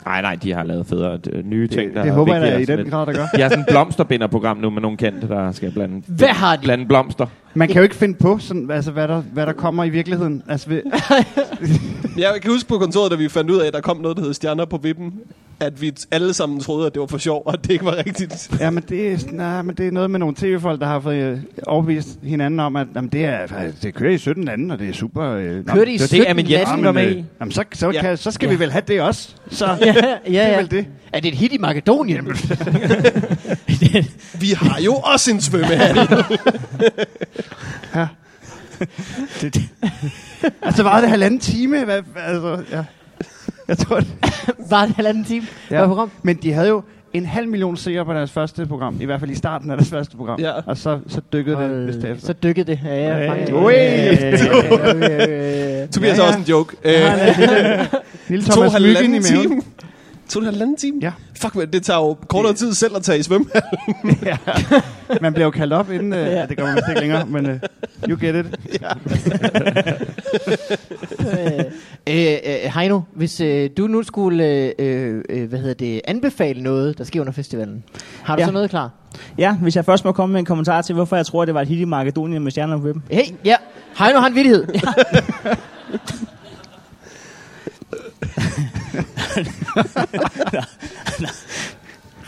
Speaker 4: Nej, nej, de har lavet federe øh, nye ting.
Speaker 5: det,
Speaker 4: der
Speaker 5: det
Speaker 4: er
Speaker 5: håber jeg da
Speaker 4: vigtigere
Speaker 5: i
Speaker 4: sådan
Speaker 5: den
Speaker 4: lidt.
Speaker 5: grad, der gør.
Speaker 4: De har sådan et blomsterbinderprogram nu med nogle kendte, der skal blande,
Speaker 2: Hvad har de?
Speaker 4: blande blomster.
Speaker 5: Man kan jo ikke finde på, sådan, altså, hvad, der, hvad der kommer i virkeligheden. Altså, ved,
Speaker 1: (laughs) Jeg kan huske på kontoret, da vi fandt ud af, at der kom noget, der hed stjerner på vippen, at vi alle sammen troede, at det var for sjov, og at det ikke var rigtigt.
Speaker 5: ja, men det, er, nej, men det er noget med nogle tv-folk, der har fået øh, overbevist hinanden om, at jamen, det, er, faktisk- det kører i 17 lande, og det er super... Øh, nå,
Speaker 2: Kører de i
Speaker 5: det-
Speaker 2: 17
Speaker 4: det, Amin Jensen
Speaker 2: lande?
Speaker 4: var med i.
Speaker 5: øh, Jamen, så, så,
Speaker 1: Ja.
Speaker 5: kan, så skal
Speaker 2: Ja.
Speaker 5: vi vel have det også. Så
Speaker 2: ja,
Speaker 5: det
Speaker 2: ja,
Speaker 5: er
Speaker 2: ja.
Speaker 5: vel det.
Speaker 2: Er det et hit i Makedonien? (laughs)
Speaker 1: Vi har jo også en svømmehal.
Speaker 5: Altså, var det halvanden time? Hvad, altså, ja. Jeg tror, det,
Speaker 2: Var det halvanden time?
Speaker 5: Ja.
Speaker 2: Ja. Var program?
Speaker 5: Men de havde jo en halv million seere på deres første program. I hvert fald i starten af deres første program.
Speaker 1: Ja.
Speaker 5: Og så, så dykkede det vist
Speaker 2: Hold,
Speaker 5: efter.
Speaker 2: så dykkede det. Ja, ja,
Speaker 5: Hey.
Speaker 2: faktisk.
Speaker 5: Ui.
Speaker 2: Øh, øh, øh.
Speaker 1: (laughs) Tobias ja,
Speaker 5: Ja, ja.
Speaker 1: ja. også en joke. Øh, (laughs)
Speaker 5: Lille
Speaker 1: to
Speaker 5: Thomas Lykken i
Speaker 1: halvanden
Speaker 5: maven.
Speaker 1: time. To og en halvanden time?
Speaker 5: Ja.
Speaker 1: Fuck, man, det tager jo kortere tid selv at tage i Altså, svømme.
Speaker 5: Man bliver jo kaldt op inden... Øh,
Speaker 2: (laughs) Ja.
Speaker 5: ja. Det gør man vist ikke længere, men øh, you get it. (laughs)
Speaker 2: Øh, øh, Heino, hvis øh, du nu skulle øh, øh, øh, hvad hedder det, anbefale noget, der sker under festivalen, har du ja.
Speaker 3: Ja.
Speaker 2: så noget klar?
Speaker 3: Ja, hvis jeg først må komme med en kommentar til, hvorfor jeg tror, det var et hit i Makedonien med stjerner på webben.
Speaker 2: Hey, ja. Heino har en vittighed.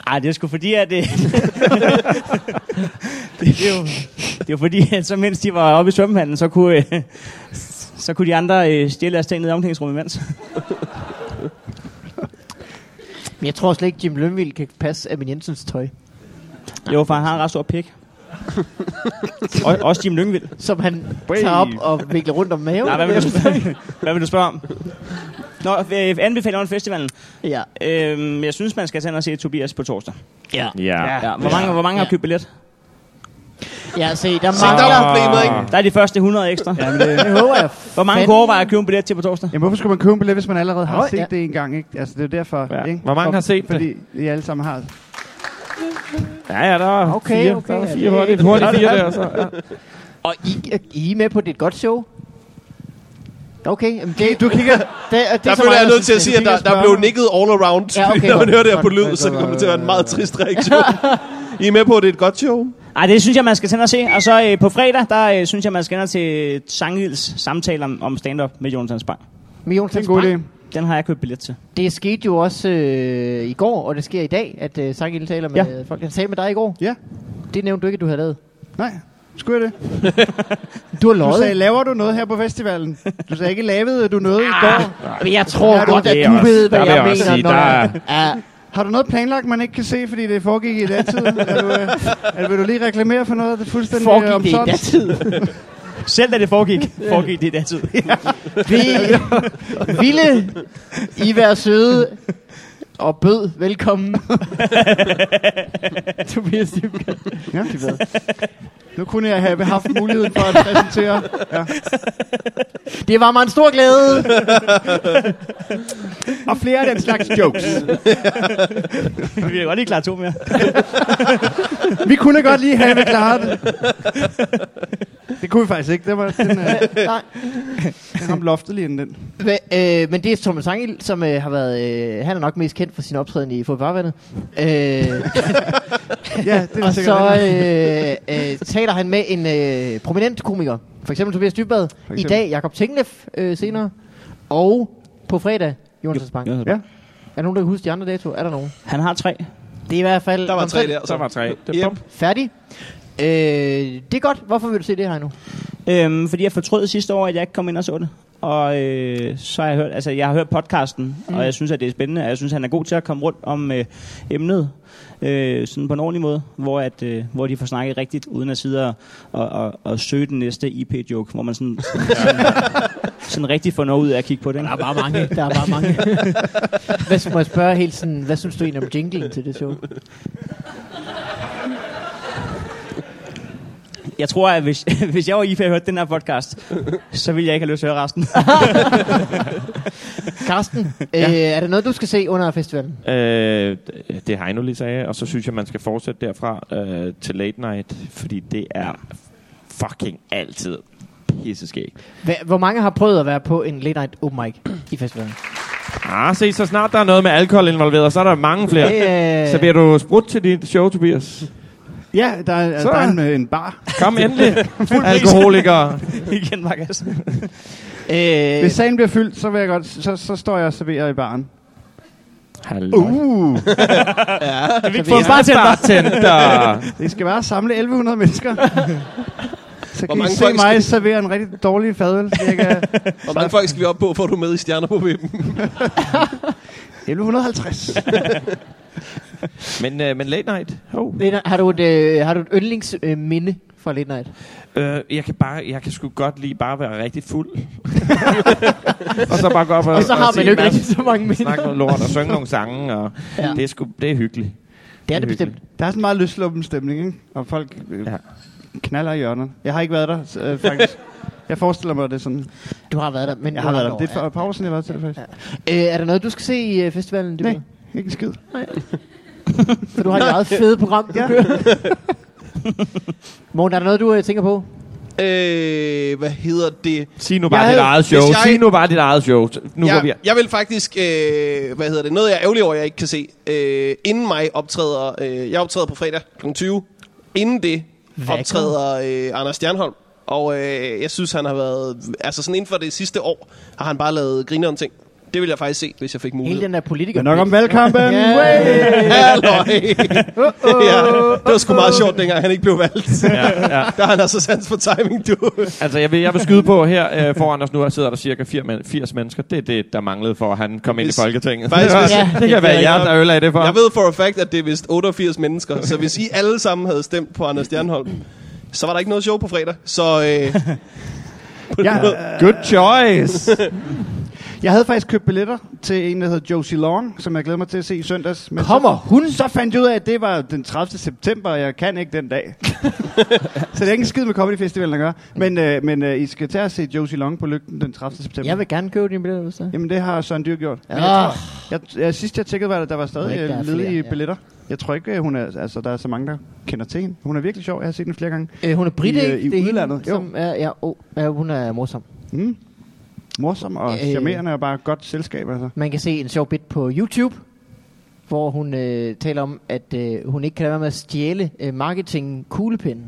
Speaker 3: Ej, det er sgu fordi, at det... (laughs) det, er jo, det er jo fordi, at så mens de var oppe i svømmehallen, så kunne, øh, så kunne de andre øh, stjæle deres ting ned i omklædningsrummet imens.
Speaker 2: Men jeg tror slet ikke, Jim Lønvild kan passe Amin Jensens tøj,
Speaker 3: Jo, for han har en ret stor pik. Og, også Jim Lyngvild.
Speaker 2: som han tager op og vikler rundt om maven.
Speaker 3: Nej, hvad vil du spørge, hvad vil du spørge om? Nå, øh, anbefaler under festivalen.
Speaker 2: Ja.
Speaker 3: Øhm, jeg synes, man skal tage ind og se Tobias på torsdag.
Speaker 2: Ja.
Speaker 4: Ja.
Speaker 3: Ja, hvor mange, hvor mange
Speaker 2: Ja.
Speaker 3: har købt billet?
Speaker 2: ja, se, der
Speaker 1: Så der
Speaker 2: mangler...
Speaker 1: Ah. er problemet, ikke?
Speaker 3: Der er de første 100 ekstra.
Speaker 5: Ja, men, øh,
Speaker 2: Det håber jeg.
Speaker 3: Hvor mange
Speaker 2: fandme.
Speaker 3: kunne overveje at købe en billet til på torsdag?
Speaker 5: jamen, hvorfor skulle man købe en billet, hvis man allerede har
Speaker 2: Nå,
Speaker 5: set
Speaker 2: ja.
Speaker 5: det en gang? Ikke? Altså, det er jo derfor.
Speaker 4: Ja.
Speaker 5: Ikke?
Speaker 4: Hvor mange
Speaker 5: Og-
Speaker 4: har set det?
Speaker 5: Fordi I alle sammen har.
Speaker 4: Ja, ja, der er
Speaker 2: Okay,
Speaker 4: fire,
Speaker 2: okay,
Speaker 4: der er
Speaker 2: ja,
Speaker 4: fire
Speaker 2: det er
Speaker 4: hurtigt, hurtigt fire der. Så, ja.
Speaker 2: Og I, I er med på det er et godt show? Okay, jamen (laughs) det,
Speaker 5: Du kigger...
Speaker 2: det, det,
Speaker 1: Der
Speaker 2: så
Speaker 1: føler
Speaker 2: meget,
Speaker 1: jeg nødt til at
Speaker 2: synes,
Speaker 1: sige, at der, der blev nikket all around.
Speaker 2: Ja,
Speaker 1: Ja,
Speaker 2: okay,
Speaker 1: okay, (laughs) når man
Speaker 2: godt,
Speaker 1: hører det her på
Speaker 2: godt,
Speaker 1: lyd,
Speaker 2: godt,
Speaker 1: så
Speaker 2: godt,
Speaker 1: kommer det til at være en
Speaker 2: godt,
Speaker 1: meget trist reaktion. (laughs) I er med på, at det er et godt show?
Speaker 3: Ej, det synes jeg, man skal tænde og se. Og så øh, på fredag, der øh, synes jeg, man skal ind og til Sangils samtale om, om stand-up med Jonathan Spang.
Speaker 2: Med
Speaker 5: Det er
Speaker 2: Jonathan
Speaker 5: en god idé.
Speaker 2: Spang.
Speaker 3: Den har jeg købt billet til.
Speaker 2: Det skete jo også øh, i går, og det sker i dag, at øh, Sangil taler med ja.
Speaker 3: Ja.
Speaker 2: folk. Han talte med dig i går.
Speaker 5: Ja.
Speaker 2: Det nævnte du ikke, at du havde lavet.
Speaker 5: Nej. Skulle jeg det?
Speaker 2: Du har
Speaker 5: Du sagde,
Speaker 2: løjet.
Speaker 5: laver du noget her på festivalen? Du sagde ikke, lavede du noget i
Speaker 2: (laughs)
Speaker 5: går?
Speaker 2: Men jeg tror
Speaker 5: Ja, du-
Speaker 2: godt, at
Speaker 4: det er
Speaker 2: du
Speaker 4: også-
Speaker 2: ved, hvad
Speaker 4: der vil
Speaker 2: jeg
Speaker 4: jeg også
Speaker 2: mener.
Speaker 4: sige,
Speaker 2: når
Speaker 4: der
Speaker 2: jeg- ja,
Speaker 5: Har du noget planlagt, man ikke kan se, fordi det foregik i datid? er du, øh, er, vil du lige reklamere for noget, det er fuldstændig øh,
Speaker 2: foregik det i
Speaker 5: omsonst?
Speaker 2: datid.
Speaker 3: Selv da det foregik, foregik det i den tid. (laughs)
Speaker 2: Vi ville I være søde og bød velkommen. Tobias Dybkjær.
Speaker 5: Ja. Nu kunne jeg have haft muligheden for at præsentere. Ja.
Speaker 2: Det var mig en stor glæde.
Speaker 5: Og flere af den slags jokes.
Speaker 3: Vi er godt lige klar to mere.
Speaker 5: Vi kunne godt lige have klaret det. Det kunne vi faktisk ikke. Det var den, øh,
Speaker 2: Nej.
Speaker 5: den ramte loftet lige inden den.
Speaker 2: Men, øh, men det er Thomas Angel, som øh, har været... Øh, han er nok mest kendt for sin optræden i Fodbarvandet. Øh,
Speaker 5: ja, det er
Speaker 2: og så
Speaker 5: sikkert.
Speaker 2: øh, øh, taler han med en øh, prominent komiker. For eksempel Tobias Dybvad. I
Speaker 5: eksempel.
Speaker 2: dag Jakob Tinglef øh, senere. Og på fredag Jonas Bank.
Speaker 3: Ja.
Speaker 5: Ja.
Speaker 2: Er der nogen, der kan huske de andre datoer? Er der nogen?
Speaker 3: Han har tre.
Speaker 2: Det er i hvert fald...
Speaker 1: Der var tre
Speaker 2: omtrent
Speaker 1: der.
Speaker 4: Så var tre. Det
Speaker 1: Yep.
Speaker 4: er bum.
Speaker 2: Færdig. Øh, det er godt. Hvorfor vil du se det her nu?
Speaker 3: Øhm, fordi jeg fortrød sidste år, at jeg ikke kom ind og så det. Og øh, så har jeg hørt, altså jeg har hørt podcasten, mm. og jeg synes, at det er spændende. Og jeg synes, han er god til at komme rundt om øh, emnet øh, sådan på en ordentlig måde, hvor, at, øh, hvor de får snakket rigtigt, uden at sidde og, og, og, og søge den næste IP-joke, hvor man sådan, sådan, sådan rigtig får noget ud af at kigge på det. Ikke?
Speaker 6: Der er bare mange. Der er bare mange.
Speaker 2: Hvad, må jeg spørge helt sådan, hvad synes du egentlig om jinglen til det show?
Speaker 3: Jeg tror, at hvis, (laughs) hvis jeg var IP og hørte den her podcast, så ville jeg ikke have lyst til at høre resten. (laughs)
Speaker 2: Karsten, ja. øh, er der noget, du skal se under festivalen?
Speaker 4: Øh, det er Heino lige sagde, og så synes jeg, man skal fortsætte derfra øh, til late night, fordi det er fucking altid pisseskæg.
Speaker 2: Hva, hvor mange har prøvet at være på en late night open mic i festivalen?
Speaker 4: Ah, se, så snart der er noget med alkohol involveret, så er der mange flere.
Speaker 2: Øh,
Speaker 4: Så bliver du sprudt til dit show, Tobias.
Speaker 5: Ja, der er,
Speaker 4: Så-
Speaker 5: der er en, øh, en bar.
Speaker 2: (laughs)
Speaker 4: Kom endelig, alkoholikere.
Speaker 3: Igen, Markus.
Speaker 2: øh,
Speaker 5: Hvis sagen bliver fyldt, så, vil jeg godt, så, så står jeg og serverer i baren.
Speaker 2: Uh.
Speaker 4: Hallo.
Speaker 1: Uh.
Speaker 3: Kan vi ikke
Speaker 4: Få en bartender.
Speaker 5: Det skal bare samle 1100 mennesker. Så kan I
Speaker 1: mange
Speaker 5: se
Speaker 1: folk
Speaker 5: mig
Speaker 1: skal-
Speaker 5: servere en rigtig dårlig fadøl. Cirka
Speaker 1: Hvor mange folk skal vi op på, får du med i stjerner på vippen?
Speaker 5: 1150.
Speaker 4: Men, øh, men late night, oh.
Speaker 2: late night- har, du et, øh, har du et yndlingsminde øh, minde fra late night?
Speaker 4: øh, jeg, kan bare, jeg kan sgu godt lide bare at være rigtig fuld. (laughs) og så bare gå op og,
Speaker 2: Og så har
Speaker 4: sige
Speaker 2: man
Speaker 4: en
Speaker 2: jo ikke
Speaker 4: masse-
Speaker 2: rigtig så mange minder.
Speaker 4: snakke noget lort og synge nogle sange. Og
Speaker 2: Ja.
Speaker 4: ja. det, er sgu, det er hyggeligt.
Speaker 2: Det er det
Speaker 4: hyggeligt.
Speaker 2: bestemt.
Speaker 5: Der er sådan en meget løsluppen stemning, ikke? Og folk øh,
Speaker 4: Ja.
Speaker 5: ja. knaller i hjørnerne. Jeg har ikke været der, så, øh, faktisk. jeg forestiller mig, at det er sådan.
Speaker 2: Du har været der, men
Speaker 5: Jeg
Speaker 2: du
Speaker 5: har været der.
Speaker 2: dog-
Speaker 5: Det er for et par år siden, jeg har været til det, faktisk.
Speaker 2: ja. øh, er der noget, du skal se i øh, festivalen? Det
Speaker 5: Nej, ikke en skid.
Speaker 2: For
Speaker 5: (laughs)
Speaker 2: du har et meget fedt program, du
Speaker 5: Ja. (laughs)
Speaker 2: kører. Morten, er der noget, du øh, tænker på?
Speaker 1: Øh, hvad hedder det?
Speaker 4: Sig nu
Speaker 1: Jeg
Speaker 4: bare dit
Speaker 1: havde-
Speaker 4: eget show.
Speaker 1: hvis jeg-
Speaker 4: Jeg... Sig nu bare dit eget show. Nu ja.
Speaker 1: jeg,
Speaker 4: går vi...
Speaker 1: jeg vil faktisk, øh, hvad hedder det, noget jeg er ærgerlig over, jeg ikke kan se. Øh, inden mig optræder, øh, jeg optræder på fredag kl. 20. Inden det optræder øh, Anders Stjernholm. Og øh, jeg synes, han har været, altså sådan inden for det sidste år, har han bare lavet griner om ting. Det vil jeg faktisk se, hvis jeg fik
Speaker 2: Hele
Speaker 1: mulighed.
Speaker 2: den der
Speaker 5: Det er
Speaker 2: politiker.
Speaker 5: nok om valgkampen.
Speaker 2: Ja.
Speaker 5: Way!
Speaker 1: (laughs) Halløj! ja, det var sgu meget sjovt, dengang han ikke blev valgt.
Speaker 4: Ja, ja.
Speaker 1: Der har han altså sans for timing, du.
Speaker 4: Altså, jeg vil, jeg vil skyde på her øh, foran os nu, her sidder der cirka 4 men- 80 mennesker. Det er det, der manglede for, at han kom ind i
Speaker 1: Hvis-
Speaker 4: Folketinget.
Speaker 1: Faktisk,
Speaker 4: det,
Speaker 1: hvis-
Speaker 2: Ja,
Speaker 4: det, kan være jer, der øl af det for.
Speaker 1: Jeg ved for a fact, at det er vist 88 mennesker, så hvis I alle sammen havde stemt på Anders Stjernholm, så var der ikke noget show på fredag. Så øh,
Speaker 5: Jeg,
Speaker 4: Good choice!
Speaker 5: jeg havde faktisk købt billetter til en, der hed Josie Long, som jeg glæder mig til at se i søndags. Men
Speaker 2: Kommer
Speaker 5: så, hun? Så fandt jeg ud af, at det var den 30. september, og jeg kan ikke den
Speaker 2: (laughs)
Speaker 5: dag. så det er ikke en skid med Comedy Festivalen at gøre. Men, øh, men øh, I skal tage og se Josie Long på lygten den 30. september.
Speaker 2: Jeg vil gerne købe dine billetter, hvis det er.
Speaker 5: Jamen det har Søren Dyr gjort. Men
Speaker 2: Ah.
Speaker 5: jeg, tror, jeg, jeg, sidst jeg tjekkede, var der, der var
Speaker 2: Jeg
Speaker 5: stadig
Speaker 2: tror ikke, der
Speaker 5: øh,
Speaker 2: er flere,
Speaker 5: ledige
Speaker 2: ja.
Speaker 5: billetter. Jeg tror ikke, øh, hun er, altså, der er så mange, der kender til hende. Hun er virkelig sjov. Jeg har set hende flere gange.
Speaker 2: Øh, hun er brit,
Speaker 5: I, øh,
Speaker 2: ikke?
Speaker 5: i
Speaker 2: Det er hende,
Speaker 5: udlandet, jo.
Speaker 2: Som er, ja, oh, ja, hun er morsom.
Speaker 5: Mm. Morsom og
Speaker 2: Øh.
Speaker 5: charmerende og bare godt selskab. Altså.
Speaker 2: Man kan se en sjov bit på YouTube, hvor hun øh, taler om, at øh, hun ikke kan lade være med at stjæle øh, marketing kuglepinden.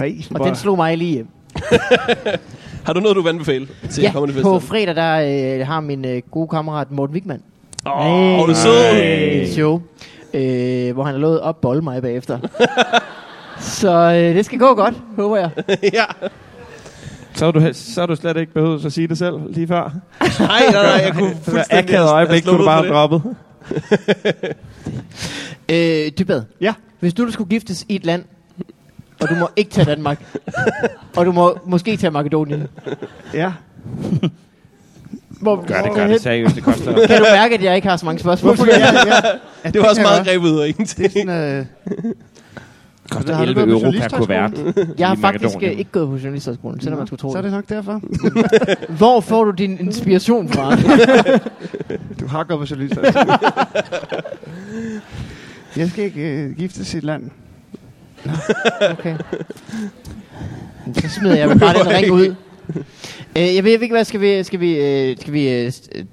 Speaker 5: Hey,
Speaker 2: Og den slog mig lige hjem.
Speaker 1: har du noget, du vil anbefale til
Speaker 2: Ja,
Speaker 1: Comedy
Speaker 2: på
Speaker 1: Festival?
Speaker 2: fredag der øh, har min øh, gode kammerat Morten Wigman
Speaker 1: Åh, oh, du er sød.
Speaker 2: et show, øh, hvor han har lovet at bolle
Speaker 1: (laughs)
Speaker 2: mig bagefter. Så øh, det skal gå godt, håber jeg.
Speaker 1: (laughs) ja.
Speaker 4: så, har du, he- så har du slet ikke behøvet at sige det selv lige før.
Speaker 1: Nej, nej, nej, jeg kunne
Speaker 4: Det var
Speaker 1: fuldstændig...
Speaker 4: akavet øjeblik, du bare droppet.
Speaker 2: Øh, Dybad,
Speaker 5: Ja.
Speaker 2: hvis du skulle giftes i et land, og du må ikke tage Danmark, og du må måske tage Makedonien,
Speaker 5: Ja.
Speaker 2: hvor,
Speaker 4: Gør det,
Speaker 2: hvor-
Speaker 4: gør det seriøst. Det koster
Speaker 2: Kan du mærke, at jeg ikke har så mange spørgsmål?
Speaker 5: Hvorfor ja, ja. ja.
Speaker 1: Det var også
Speaker 5: kan
Speaker 1: meget
Speaker 5: jeg
Speaker 1: grebet ud af ingenting.
Speaker 5: godt. Sådan, øh,
Speaker 4: Det koster
Speaker 5: Har du
Speaker 4: 11
Speaker 5: været på
Speaker 4: euro per
Speaker 5: journalisthøjskolen?
Speaker 4: kuvert.
Speaker 2: Jeg har
Speaker 4: i
Speaker 2: faktisk
Speaker 4: Makedonien.
Speaker 2: øh, ikke gået på journalisterskolen, selvom man skulle tro
Speaker 5: så er det
Speaker 2: det.
Speaker 5: nok derfor.
Speaker 2: Hvor får du din inspiration
Speaker 3: (laughs)
Speaker 2: fra?
Speaker 5: (laughs) Du har gået på journalister. jeg skal ikke øh, gifte sit land.
Speaker 2: Okay. Så smider jeg bare den ring ud. Øh, jeg ved ikke, hvad skal vi... Skal vi, øh, skal vi øh, s- øh,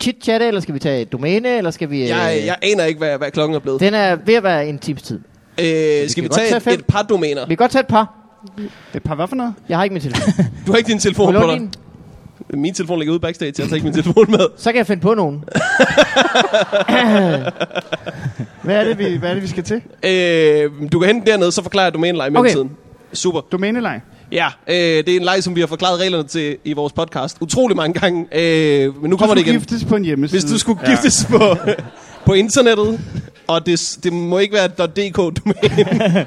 Speaker 2: chit-chatte, eller skal vi tage et domæne, eller skal vi... Øh,
Speaker 1: Jeg, jeg aner ikke, hvad, hvad klokken er blevet.
Speaker 2: Den er ved at være en times tid.
Speaker 1: Øh, skal vi
Speaker 2: kan godt
Speaker 1: tage
Speaker 2: tage
Speaker 1: et,
Speaker 2: fem.
Speaker 1: et par domæner?
Speaker 2: Vi kan godt tage et par.
Speaker 5: Et par hvad for noget?
Speaker 2: Jeg har ikke min telefon.
Speaker 1: Du har ikke din
Speaker 2: Må
Speaker 1: telefon
Speaker 2: jeg
Speaker 1: på
Speaker 2: låne
Speaker 1: dig.
Speaker 2: din?
Speaker 1: Min telefon ligger ude backstage, jeg tager ikke min telefon med.
Speaker 2: Så kan jeg finde på nogen.
Speaker 5: Hvad er det, vi, hvad er det, vi skal til?
Speaker 1: Øh, du kan hente den dernede, så forklarer jeg domænelej i mellemtiden. Okay. Super.
Speaker 5: Domænelej.
Speaker 1: Ja, øh, det er en leg, som vi har forklaret reglerne til i vores podcast. Utrolig mange gange. Øh, men nu kommer
Speaker 5: du
Speaker 1: det igen.
Speaker 5: skulle giftes på en hjemmeside.
Speaker 1: Hvis du skulle ja. giftes på, (laughs) på internettet, og det, det må ikke være .dk domæne.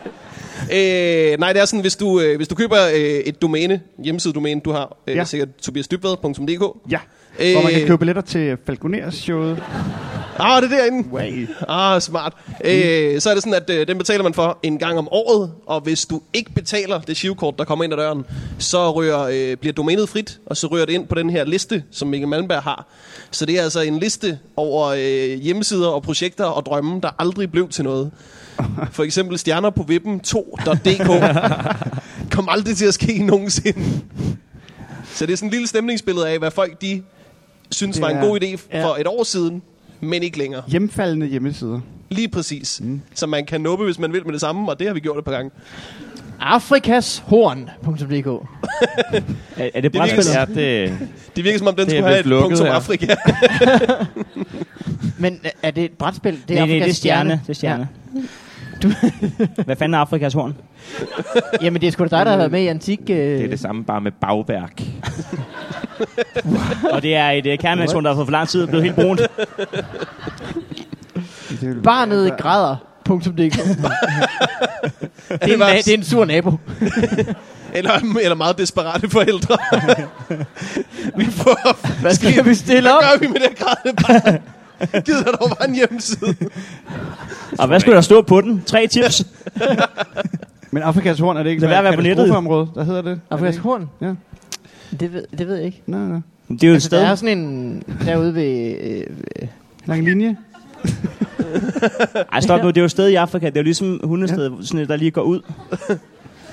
Speaker 1: øh, nej, det er sådan, hvis du, øh, hvis du køber øh, et domæne, hjemmesidedomæne, du har øh, ja.
Speaker 5: Ja.
Speaker 1: sikkert tobiasdybvad.dk.
Speaker 5: Ja, øh... hvor man kan købe billetter til Falconers showet.
Speaker 1: Ah, det er derinde.
Speaker 5: Way.
Speaker 1: Ah, smart.
Speaker 5: Mm.
Speaker 1: Øh, så er det sådan, at øh, den betaler man for en gang om året, og hvis du ikke betaler det shivkort, der kommer ind ad døren, så ryger, øh, bliver domænet frit, og så ryger det ind på den her liste, som Mikkel Malmberg har. Så det er altså en liste over øh, hjemmesider og projekter og drømme, der aldrig blev til
Speaker 5: (laughs)
Speaker 1: noget. For eksempel stjerner på vippen 2.dk kom aldrig til at ske nogensinde. Så det er sådan et lille stemningsbillede af, hvad folk de synes
Speaker 5: Det
Speaker 1: var en
Speaker 5: er-
Speaker 1: god idé
Speaker 5: ja.
Speaker 1: for et år siden, men ikke længere.
Speaker 5: Hjemfaldende hjemmesider.
Speaker 1: Lige præcis. Mm. Så man kan nuppe, hvis man vil med det samme, og det har vi gjort et par gange.
Speaker 2: Afrikashorn.dk
Speaker 3: Er, er det
Speaker 1: er
Speaker 3: brætspillet?
Speaker 4: Ja, det...
Speaker 1: Det virker som om, den
Speaker 4: Det er
Speaker 1: skulle have
Speaker 4: blevet
Speaker 1: et
Speaker 4: lukket
Speaker 1: punkt som
Speaker 4: her.
Speaker 1: Afrika. (laughs)
Speaker 2: Men øh, er det et brætspil? Det er
Speaker 3: nej, nej,
Speaker 2: Afrikas
Speaker 3: det er stjerne. Det er stjerne. Du (laughs) Hvad fanden er Afrikas horn?
Speaker 2: Ja. Jamen, det er sgu da dig, der har været med i antik... Øh...
Speaker 4: Det er det samme, bare med bagværk.
Speaker 3: Og det er et uh, kernemandsrum, der har fået for lang tid og blevet helt brunt.
Speaker 2: Barnet i græder.dk det, er en,
Speaker 1: var-
Speaker 2: na- det er en sur nabo.
Speaker 1: eller, eller meget desperate forældre. vi får...
Speaker 2: (laughs) Hvad skal vi stille op?
Speaker 1: Hvad gør vi med det grædende barn? (laughs) Gider der dog bare en hjemmeside?
Speaker 3: Og hvad skulle der stå på den? Tre tips.
Speaker 5: Men Afrikas horn er det ikke
Speaker 3: Lad være med at være på nettet.
Speaker 5: katastrofeområde? Hvad hedder det?
Speaker 2: Afrikas horn?
Speaker 5: Ja.
Speaker 2: Det ved, det ved jeg ikke.
Speaker 5: Nej, nej.
Speaker 3: Det er jo et
Speaker 2: Altså, der er
Speaker 3: sted.
Speaker 2: sådan en... Derude ved... Øh, øh,
Speaker 5: Lang linje.
Speaker 3: Ej, stop nu. Det er jo et sted i Afrika. Det er jo ligesom hundested, sådan, et, der lige går ud.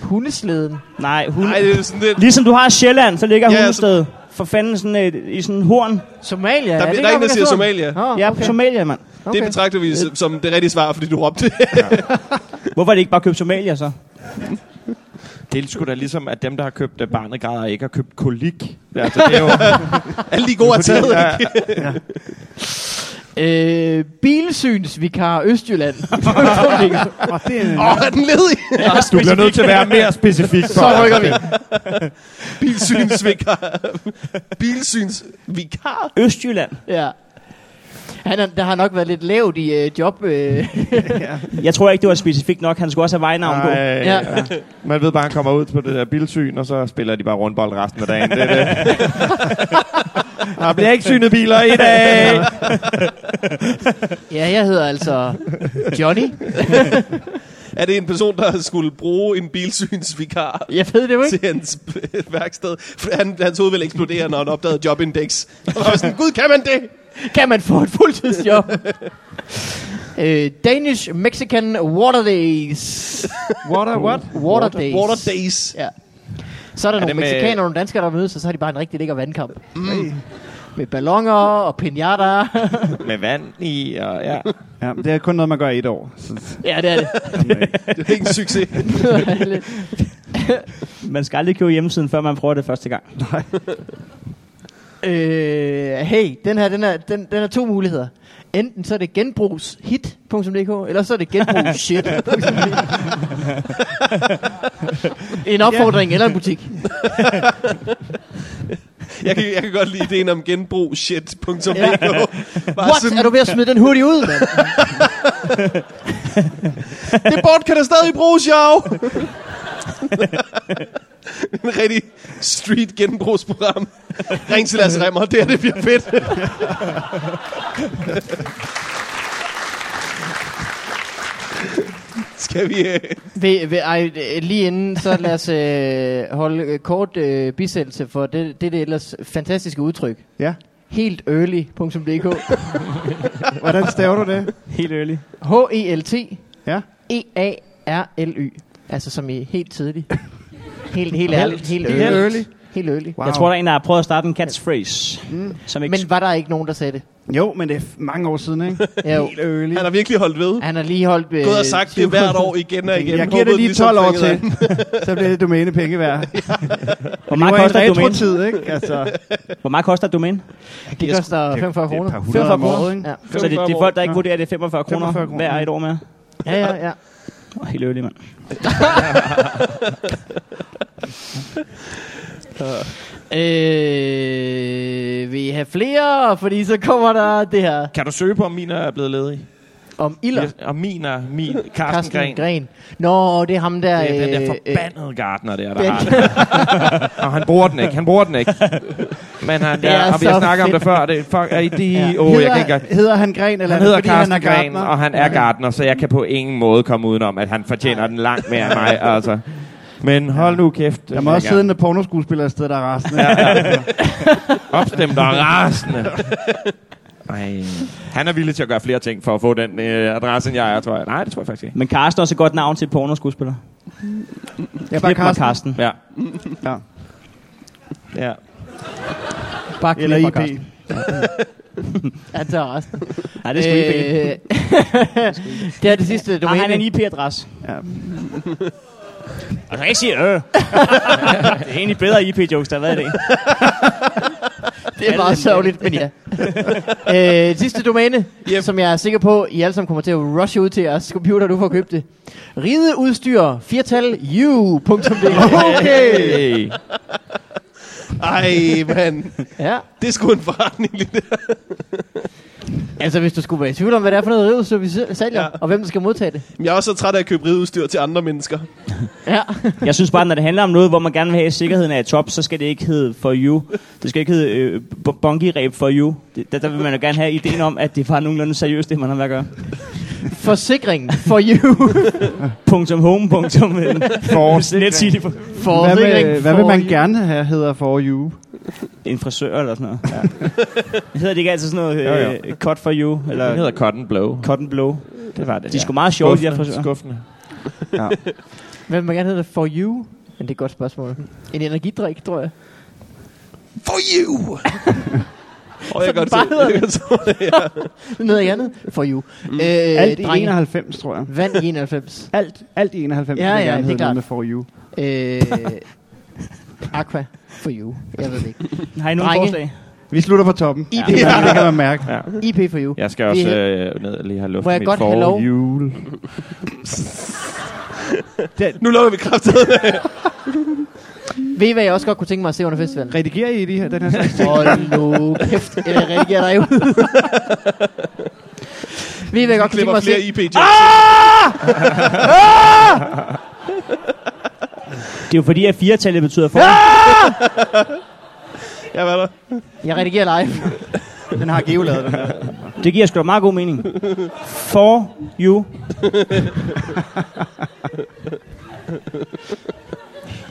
Speaker 2: hundesleden.
Speaker 3: Nej, hunde.
Speaker 1: Nej, det er sådan lidt...
Speaker 3: Ligesom du har Sjælland, så ligger
Speaker 1: Ja,
Speaker 3: ja,
Speaker 1: så-
Speaker 3: hundested. For fanden sådan et, i sådan en horn.
Speaker 2: Somalia?
Speaker 1: Der
Speaker 2: er
Speaker 1: bliver
Speaker 2: det
Speaker 1: der
Speaker 2: ikke
Speaker 1: en, der siger
Speaker 2: Afrikas horn?
Speaker 1: Somalia.
Speaker 2: Åh,
Speaker 3: Ja,
Speaker 2: Ah, okay.
Speaker 3: okay. Somalia, mand.
Speaker 1: Det
Speaker 2: okay.
Speaker 1: betragter vi som- som det rigtige svar, fordi du råbte det.
Speaker 3: Hvorfor er det ikke bare købt Somalia, så?
Speaker 4: Det er sgu da ligesom, at dem, der har købt øh, barnet græder, ikke har købt kolik. Altså, det er jo...
Speaker 2: (laughs)
Speaker 1: Alle de gode er taget.
Speaker 4: Ja,
Speaker 2: Øh, bilsynsvikar Østjylland.
Speaker 1: (laughs)
Speaker 5: Og det er
Speaker 1: Åh, er den ledig? (laughs)
Speaker 4: du bliver nødt til at være mere specifik.
Speaker 2: Så rykker vi.
Speaker 1: Bilsynsvikar. Bilsynsvikar.
Speaker 3: Østjylland.
Speaker 2: Ja. Han er, der har nok været lidt lavt i øh, job. Øh.
Speaker 3: Jeg tror ikke, det var specifikt nok. Han skulle også have vejnavn på.
Speaker 4: Nej,
Speaker 2: Ja.
Speaker 4: ja. Man ved bare, at han kommer ud på det der bilsyn, og så spiller de bare rundbold resten af dagen. Det er det. Der bliver ikke synet biler i dag.
Speaker 2: (laughs) Ja, jeg hedder altså Johnny.
Speaker 1: Er det en person, der skulle bruge en bilsynsvikar?
Speaker 2: Jeg ved det jo
Speaker 1: (laughs)
Speaker 2: ikke.
Speaker 1: til hans øh, værksted. For Han, hans hoved ville eksplodere, når han opdagede jobindex. Og han var sådan, gud, kan man det?
Speaker 2: Kan man få et fuldtidsjob? (laughs) øh, Danish Mexican Water Days.
Speaker 5: water what?
Speaker 2: Water Days.
Speaker 1: Water days.
Speaker 2: Ja. Så er der er nogle
Speaker 4: det med-
Speaker 2: mexikanere og nogle danskere, der mødes, og så har de bare en rigtig lækker vandkamp. Mm. Med ballonger og pinata.
Speaker 4: Med vand i, og ja.
Speaker 5: Ja, men det er kun noget, man gør i et år. Så,
Speaker 2: (laughs) ja, det er det.
Speaker 1: Det er ikke en succes.
Speaker 3: Man skal aldrig købe hjemmesiden, før man prøver det første gang.
Speaker 2: (laughs) Øh, hey, den her, den er, den, den er to muligheder. Enten så er det genbrugshit.dk, eller så er det (laughs) genbrugsshit. en opfordring eller en butik.
Speaker 1: Jeg kan, jeg kan godt lide ideen om genbrug shit.dk.
Speaker 2: (laughs)
Speaker 1: Bare
Speaker 2: What? Er du ved at smide den hurtigt ud, mand?
Speaker 1: det bort kan der stadig bruges,
Speaker 2: (laughs)
Speaker 1: jo! en rigtig street genbrugsprogram. Ring til Lasse Remmer, det er det bliver
Speaker 2: (laughs)
Speaker 1: fedt. Skal vi... Øh...
Speaker 2: Ved, ved, ej, øh, lige inden, så lad os øh, holde øh, kort øh, bisættelse for det, det, det ellers fantastiske udtryk.
Speaker 5: ja.
Speaker 2: Helt
Speaker 5: (laughs)
Speaker 2: early.dk
Speaker 5: Hvordan staver du det?
Speaker 3: Helt ærligt.
Speaker 2: H-E-L-T
Speaker 5: Ja.
Speaker 2: E E-A-R-L-Y Altså som i helt tidlig. Helt, helt
Speaker 5: Helt-
Speaker 2: ærligt. Helt
Speaker 5: helt
Speaker 2: early.
Speaker 5: early.
Speaker 2: Helt early.
Speaker 5: Wow.
Speaker 3: Jeg tror, der er en, der har prøvet at starte en catchphrase. Mm. Som ikke
Speaker 2: Men var der ikke nogen, der sagde det?
Speaker 5: Jo, men det er f- mange år siden, ikke?
Speaker 2: Ja, jo.
Speaker 5: Helt early.
Speaker 1: Han har virkelig holdt ved.
Speaker 2: Han har lige holdt... Øh,
Speaker 1: Gået og sagt det hvert år igen og igen.
Speaker 5: (laughs) Jeg giver
Speaker 1: Håbet
Speaker 5: det lige
Speaker 1: ligesom
Speaker 5: 12 år
Speaker 1: fingeren.
Speaker 5: til, (laughs) så bliver det domæne penge værd.
Speaker 3: hvor,
Speaker 5: Nu
Speaker 3: meget
Speaker 5: er
Speaker 3: koster
Speaker 5: det
Speaker 3: et domæne?
Speaker 5: retro-tid, ikke? Altså,
Speaker 3: hvor meget koster et domæne?
Speaker 2: (laughs) Det koster 45 kroner.
Speaker 5: Det er et par hundrede om året, ikke?
Speaker 2: Ja.
Speaker 3: Så det, det er folk, der ikke vurderer, at det er 45
Speaker 5: 45
Speaker 3: kroner
Speaker 5: kroner.
Speaker 3: hver et år med.
Speaker 2: ja, ja, ja.
Speaker 3: Oh, helt øvrigt, mand.
Speaker 2: Øh, vil I have flere? Fordi så kommer der det her
Speaker 4: Kan du søge på, om min er blevet ledig?
Speaker 2: om ilder.
Speaker 4: Ja, Og min er min. Carsten,
Speaker 2: Carsten Gren.
Speaker 4: Gren.
Speaker 2: Gren. Nå, det er ham der...
Speaker 4: Det er den der
Speaker 2: øh, øh,
Speaker 4: forbandede gartner der, der har den. Og han bruger den ikke, han bruger den ikke. Men han,
Speaker 2: Det er
Speaker 4: ja, og vi
Speaker 2: så
Speaker 4: har snakket om
Speaker 2: fedt.
Speaker 4: det før, det er, fuck, er I de,
Speaker 2: Ja.
Speaker 4: ja. oh, jeg kan ikke,
Speaker 5: hedder, hedder han Gren, eller
Speaker 4: han
Speaker 5: er det,
Speaker 4: hedder
Speaker 5: fordi
Speaker 4: Carsten
Speaker 5: han er
Speaker 4: Gren,
Speaker 5: gartner?
Speaker 4: og han er gartner, så jeg kan på ingen måde komme udenom, at han fortjener den langt mere end
Speaker 5: (laughs)
Speaker 4: mig, altså. Men hold nu kæft.
Speaker 5: Der må også sidde en pornoskuespiller et sted, der er resten. Ja.
Speaker 4: opstemt og
Speaker 5: (laughs)
Speaker 4: rasende. Ej. Han er villig til at gøre flere ting for at få den øh, adresse, end jeg er, tror jeg. Nej, det tror jeg faktisk ikke.
Speaker 3: Men Karsten er også et godt navn til et pornoskuespiller.
Speaker 5: Jeg er bare
Speaker 3: Klip mig,
Speaker 5: Carsten.
Speaker 3: Karsten.
Speaker 4: Ja.
Speaker 5: Ja.
Speaker 4: ja.
Speaker 2: bare
Speaker 5: Eller
Speaker 2: klip mig,
Speaker 5: IP.
Speaker 2: Carsten. Han tager resten.
Speaker 3: Nej, det er sgu ikke øh,
Speaker 2: Øh, (laughs) det er det sidste
Speaker 3: Har han en
Speaker 2: Øh, domæne.
Speaker 3: IP-adresse?
Speaker 5: Ja.
Speaker 3: (laughs) Og så kan jeg ikke sige, øh. (laughs) det er egentlig bedre IP-jokes, der har været i dag.
Speaker 2: Det er meget sørgeligt, men ja. (laughs) øh, sidste domæne, yep. som jeg er sikker på, I alle sammen kommer til at rushe ud til jeres computer, du får købt det. Rideudstyr, firtal, you.dk.
Speaker 5: Okay!
Speaker 4: Hey.
Speaker 1: (laughs) Ej, mand.
Speaker 2: Ja,
Speaker 1: Det er sgu en forretning, lige der.
Speaker 2: altså hvis du skulle være i tvivl om, hvad det er for noget rideudstyr, vi sælger, ja.
Speaker 1: Ja.
Speaker 2: og hvem der skal modtage det.
Speaker 1: Men Jeg er også så træt af at købe rideudstyr til andre mennesker.
Speaker 2: Ja.
Speaker 3: Jeg synes bare, når det handler om noget, hvor man gerne vil have, at sikkerheden er i top, så skal det ikke hedde for you. Det skal ikke hedde øh, bu- bungee rape for you. Det, der, der vil man jo gerne have ideen om, at det er bare nogenlunde seriøst, det man har med at gøre.
Speaker 2: (laughs) Forsikring for you.
Speaker 3: Punktum home,
Speaker 5: (laughs)
Speaker 3: punktum øh,
Speaker 4: Forsikring.
Speaker 3: netside for
Speaker 5: Hvad
Speaker 2: Forsikring
Speaker 5: vil, hvad vil
Speaker 2: for
Speaker 5: man
Speaker 2: you.
Speaker 5: gerne have, hedder for you?
Speaker 3: en frisør eller sådan noget. Ja. Hedder det ikke altid sådan noget
Speaker 4: Jo,
Speaker 3: øh, cut for you, eller
Speaker 4: Den hedder Cotton Blow.
Speaker 3: cotton blow?
Speaker 4: Det var det.
Speaker 3: De er sgu meget sjove, de der
Speaker 4: Skuffende,
Speaker 3: frisører.
Speaker 4: skuffende.
Speaker 2: Hvad vil man gerne hedde for you? Men det er et godt spørgsmål. En energidrik, tror jeg.
Speaker 1: For you! Og jeg
Speaker 2: Så
Speaker 1: kan godt
Speaker 2: bare
Speaker 1: se-
Speaker 2: hedder
Speaker 1: (laughs) jeg kan godt se det. ja.
Speaker 2: Noget andet for you. Mm. Øh,
Speaker 5: Alt i
Speaker 2: drenge.
Speaker 5: 91, tror jeg.
Speaker 2: Vand i 91.
Speaker 5: Alt, alt i 91
Speaker 2: Ja, ja,
Speaker 5: vil jeg gerne
Speaker 2: det er
Speaker 5: hedde
Speaker 2: klart.
Speaker 5: noget med for you.
Speaker 2: Øh, aqua for you. Jeg ved det ikke.
Speaker 3: Har I nogen
Speaker 2: Drenge.
Speaker 3: forslag?
Speaker 5: Vi slutter på toppen.
Speaker 2: Ja.
Speaker 5: Det, kan man, det kan man mærke.
Speaker 4: Ja.
Speaker 2: IP for you.
Speaker 4: Jeg skal
Speaker 2: Vi-
Speaker 4: også øh, ned og lige have
Speaker 2: Må jeg
Speaker 4: luftet mit
Speaker 2: godt have lov?
Speaker 4: forhjul.
Speaker 1: Nu lukker vi kraftedet.
Speaker 2: Ved I, hvad jeg også godt kunne tænke mig at se under festivalen?
Speaker 5: Redigerer I de her, den her slags?
Speaker 2: Hold nu kæft, jeg reagerer dig ud. Ved I, hvad jeg godt kunne tænke
Speaker 1: klipper
Speaker 2: mig at
Speaker 1: flere
Speaker 2: se?
Speaker 1: ip -jokes.
Speaker 3: Det er jo fordi, at firetallet betyder for.
Speaker 1: Ja, hvad er der?
Speaker 2: Jeg redigerer live.
Speaker 5: Den har Geo lavet, den her.
Speaker 3: Det giver sgu da meget god mening. For you.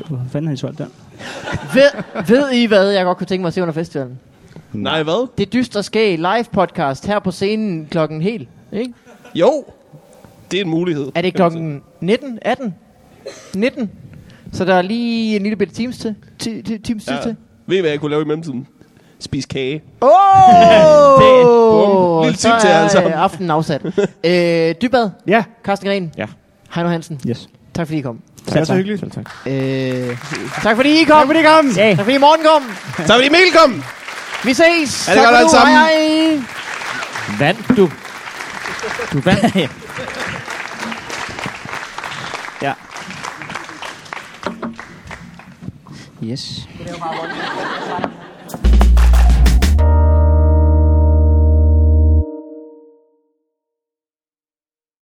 Speaker 3: Hvor fanden har de solgt den?
Speaker 2: Ved, ved I, hvad jeg godt kunne tænke mig at se under festivalen?
Speaker 1: Nej, hvad?
Speaker 2: Det dystre skæg live podcast her på scenen klokken helt. Ikke?
Speaker 1: Jo. Det er en mulighed.
Speaker 2: Er det
Speaker 1: kan man sige.
Speaker 2: klokken 19? 18? 19? Så der er lige en lille bitte times til. Ti, ti, times tid
Speaker 1: (laughs)
Speaker 2: til.
Speaker 1: Ved I, hvad jeg kunne lave i mellemtiden? Spis kage.
Speaker 2: Åh! Oh!
Speaker 1: Lille tip til jer alle sammen.
Speaker 2: aftenen
Speaker 1: (laughs)
Speaker 2: afsat. øh, Dybad,
Speaker 5: Ja,
Speaker 2: Carsten Gren,
Speaker 4: Ja.
Speaker 2: Heino Hansen,
Speaker 3: Yes.
Speaker 2: tak fordi I kom.
Speaker 5: det er så hyggeligt.
Speaker 4: Selv tak.
Speaker 2: Øh, tak fordi I kom. Tak fordi I kom.
Speaker 3: Ja.
Speaker 2: Tak fordi Morten kom.
Speaker 1: Så er vi Emil, kom!
Speaker 2: Vi ses.
Speaker 1: Ha' det godt
Speaker 2: Tak for
Speaker 1: alle
Speaker 2: nu.
Speaker 1: sammen.
Speaker 2: Hej, hej.
Speaker 4: Vandt du? Du vandt.
Speaker 3: ja. Yes.